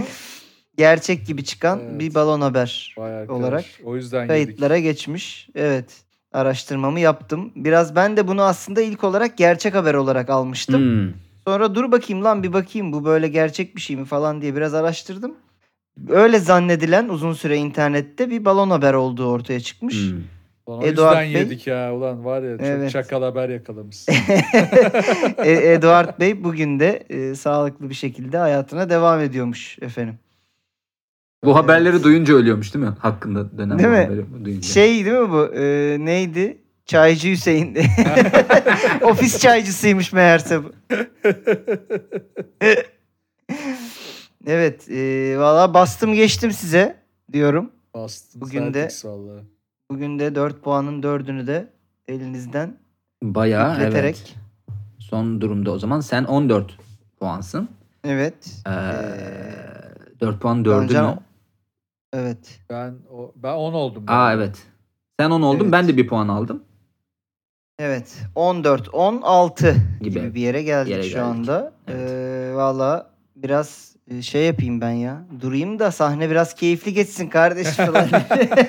S2: gerçek gibi çıkan
S3: Evet.
S2: bir balon haber
S3: vay arkadaş.
S2: olarak
S3: O yüzden yedik.
S2: kayıtlara geçmiş. Evet. Araştırmamı yaptım. Biraz ben de bunu aslında ilk olarak gerçek haber olarak almıştım.
S4: Hmm.
S2: Sonra dur bakayım lan bir bakayım bu böyle gerçek bir şey mi falan diye biraz araştırdım. Öyle zannedilen uzun süre internette bir balon haber olduğu ortaya çıkmış.
S4: Hmm.
S3: Ulan o
S2: Eduard
S3: yüzden
S2: Bey-
S3: yedik ya. Ulan var ya çok
S2: Evet.
S3: çakal haber yakalamışsın.
S2: <laughs> <laughs> E, Eduard Bey bugün de e, sağlıklı bir şekilde hayatına devam ediyormuş efendim.
S4: Bu haberleri duyunca ölüyormuş değil mi? Hakkında dönen
S2: Değil
S4: bu
S2: mi?
S4: haberi duyunca.
S2: Şey değil mi bu? E, neydi? Çaycı Hüseyin.
S4: <laughs>
S2: Ofis çaycısıymış meğerse bu. evet. E, Valla bastım geçtim size diyorum.
S3: Bastın.
S2: Bugün
S3: Bugün
S2: de-
S3: de. Vallahi.
S2: Bugün de 4 puanın 4'ünü de elinizden
S4: Bayağı
S2: yükleterek.
S4: evet. Son durumda o zaman sen 14 puansın.
S2: Evet.
S4: Ee,
S2: Ee,
S4: 4 puan 4'ü
S2: Gonca-
S4: mü?
S2: evet.
S3: Ben o, ben 10 oldum.
S4: Aa evet. Sen 10 oldun
S2: Evet.
S4: ben de 1 puan aldım. <laughs>
S2: Evet. 14 16
S4: Gibi.
S2: gibi, bir yere geldik
S4: Yere
S2: şu
S4: geldik.
S2: anda.
S4: Evet.
S2: Ee, Valla biraz e, şey yapayım ben ya. Durayım da sahne biraz keyifli geçsin kardeşim falan.
S4: <laughs>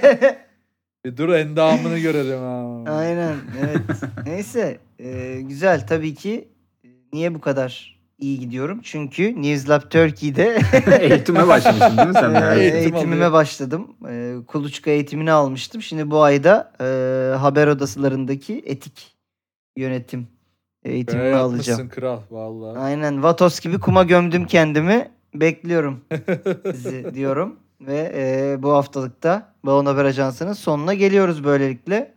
S3: Bir dur endamını görelim. Ha.
S2: e, Aynen. Evet. Neyse. Ee, güzel tabii ki. e, Niye bu kadar iyi gidiyorum. Çünkü Newslab Turkey'de
S4: Eğitime başlamışsın değil mi sen?
S2: Ee,
S4: de?
S3: Eğitim
S2: eğitimime
S3: alıyor.
S2: başladım. Ee, Kuluçka eğitimini almıştım. Şimdi bu ayda e, haber odasılarındaki etik yönetim eğitimini
S3: Böyle yapmışsın
S2: alacağım.
S3: kral vallahi.
S2: Aynen Vatos gibi kuma gömdüm kendimi. Bekliyorum sizi diyorum. Ve e, bu haftalıkta Balon Haber Ajansı'nın sonuna geliyoruz böylelikle.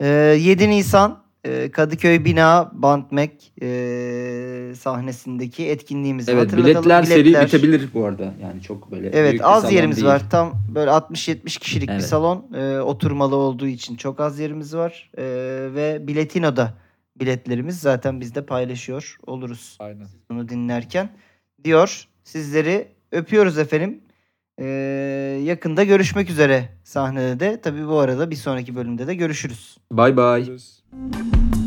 S2: E, 7 Nisan e, Kadıköy Bina Bandmek e, sahnesindeki etkinliğimizi
S4: evet
S2: hatırlatalım.
S4: biletler, seri bitebilir bu arada. Yani çok böyle büyük
S2: Evet
S4: bir
S2: az
S4: salon
S2: yerimiz
S4: değil.
S2: var. Tam böyle 60-70 kişilik
S4: Evet.
S2: bir salon. Ee, oturmalı olduğu için çok az yerimiz var. Ee, ve Biletino'da biletlerimiz zaten biz de paylaşıyor oluruz
S3: Aynen.
S2: bunu dinlerken. Diyor sizleri öpüyoruz efendim. Ee, yakında görüşmek üzere sahnede de. Tabii bu arada bir sonraki bölümde de görüşürüz.
S4: Bay bay.
S3: Görüşürüz.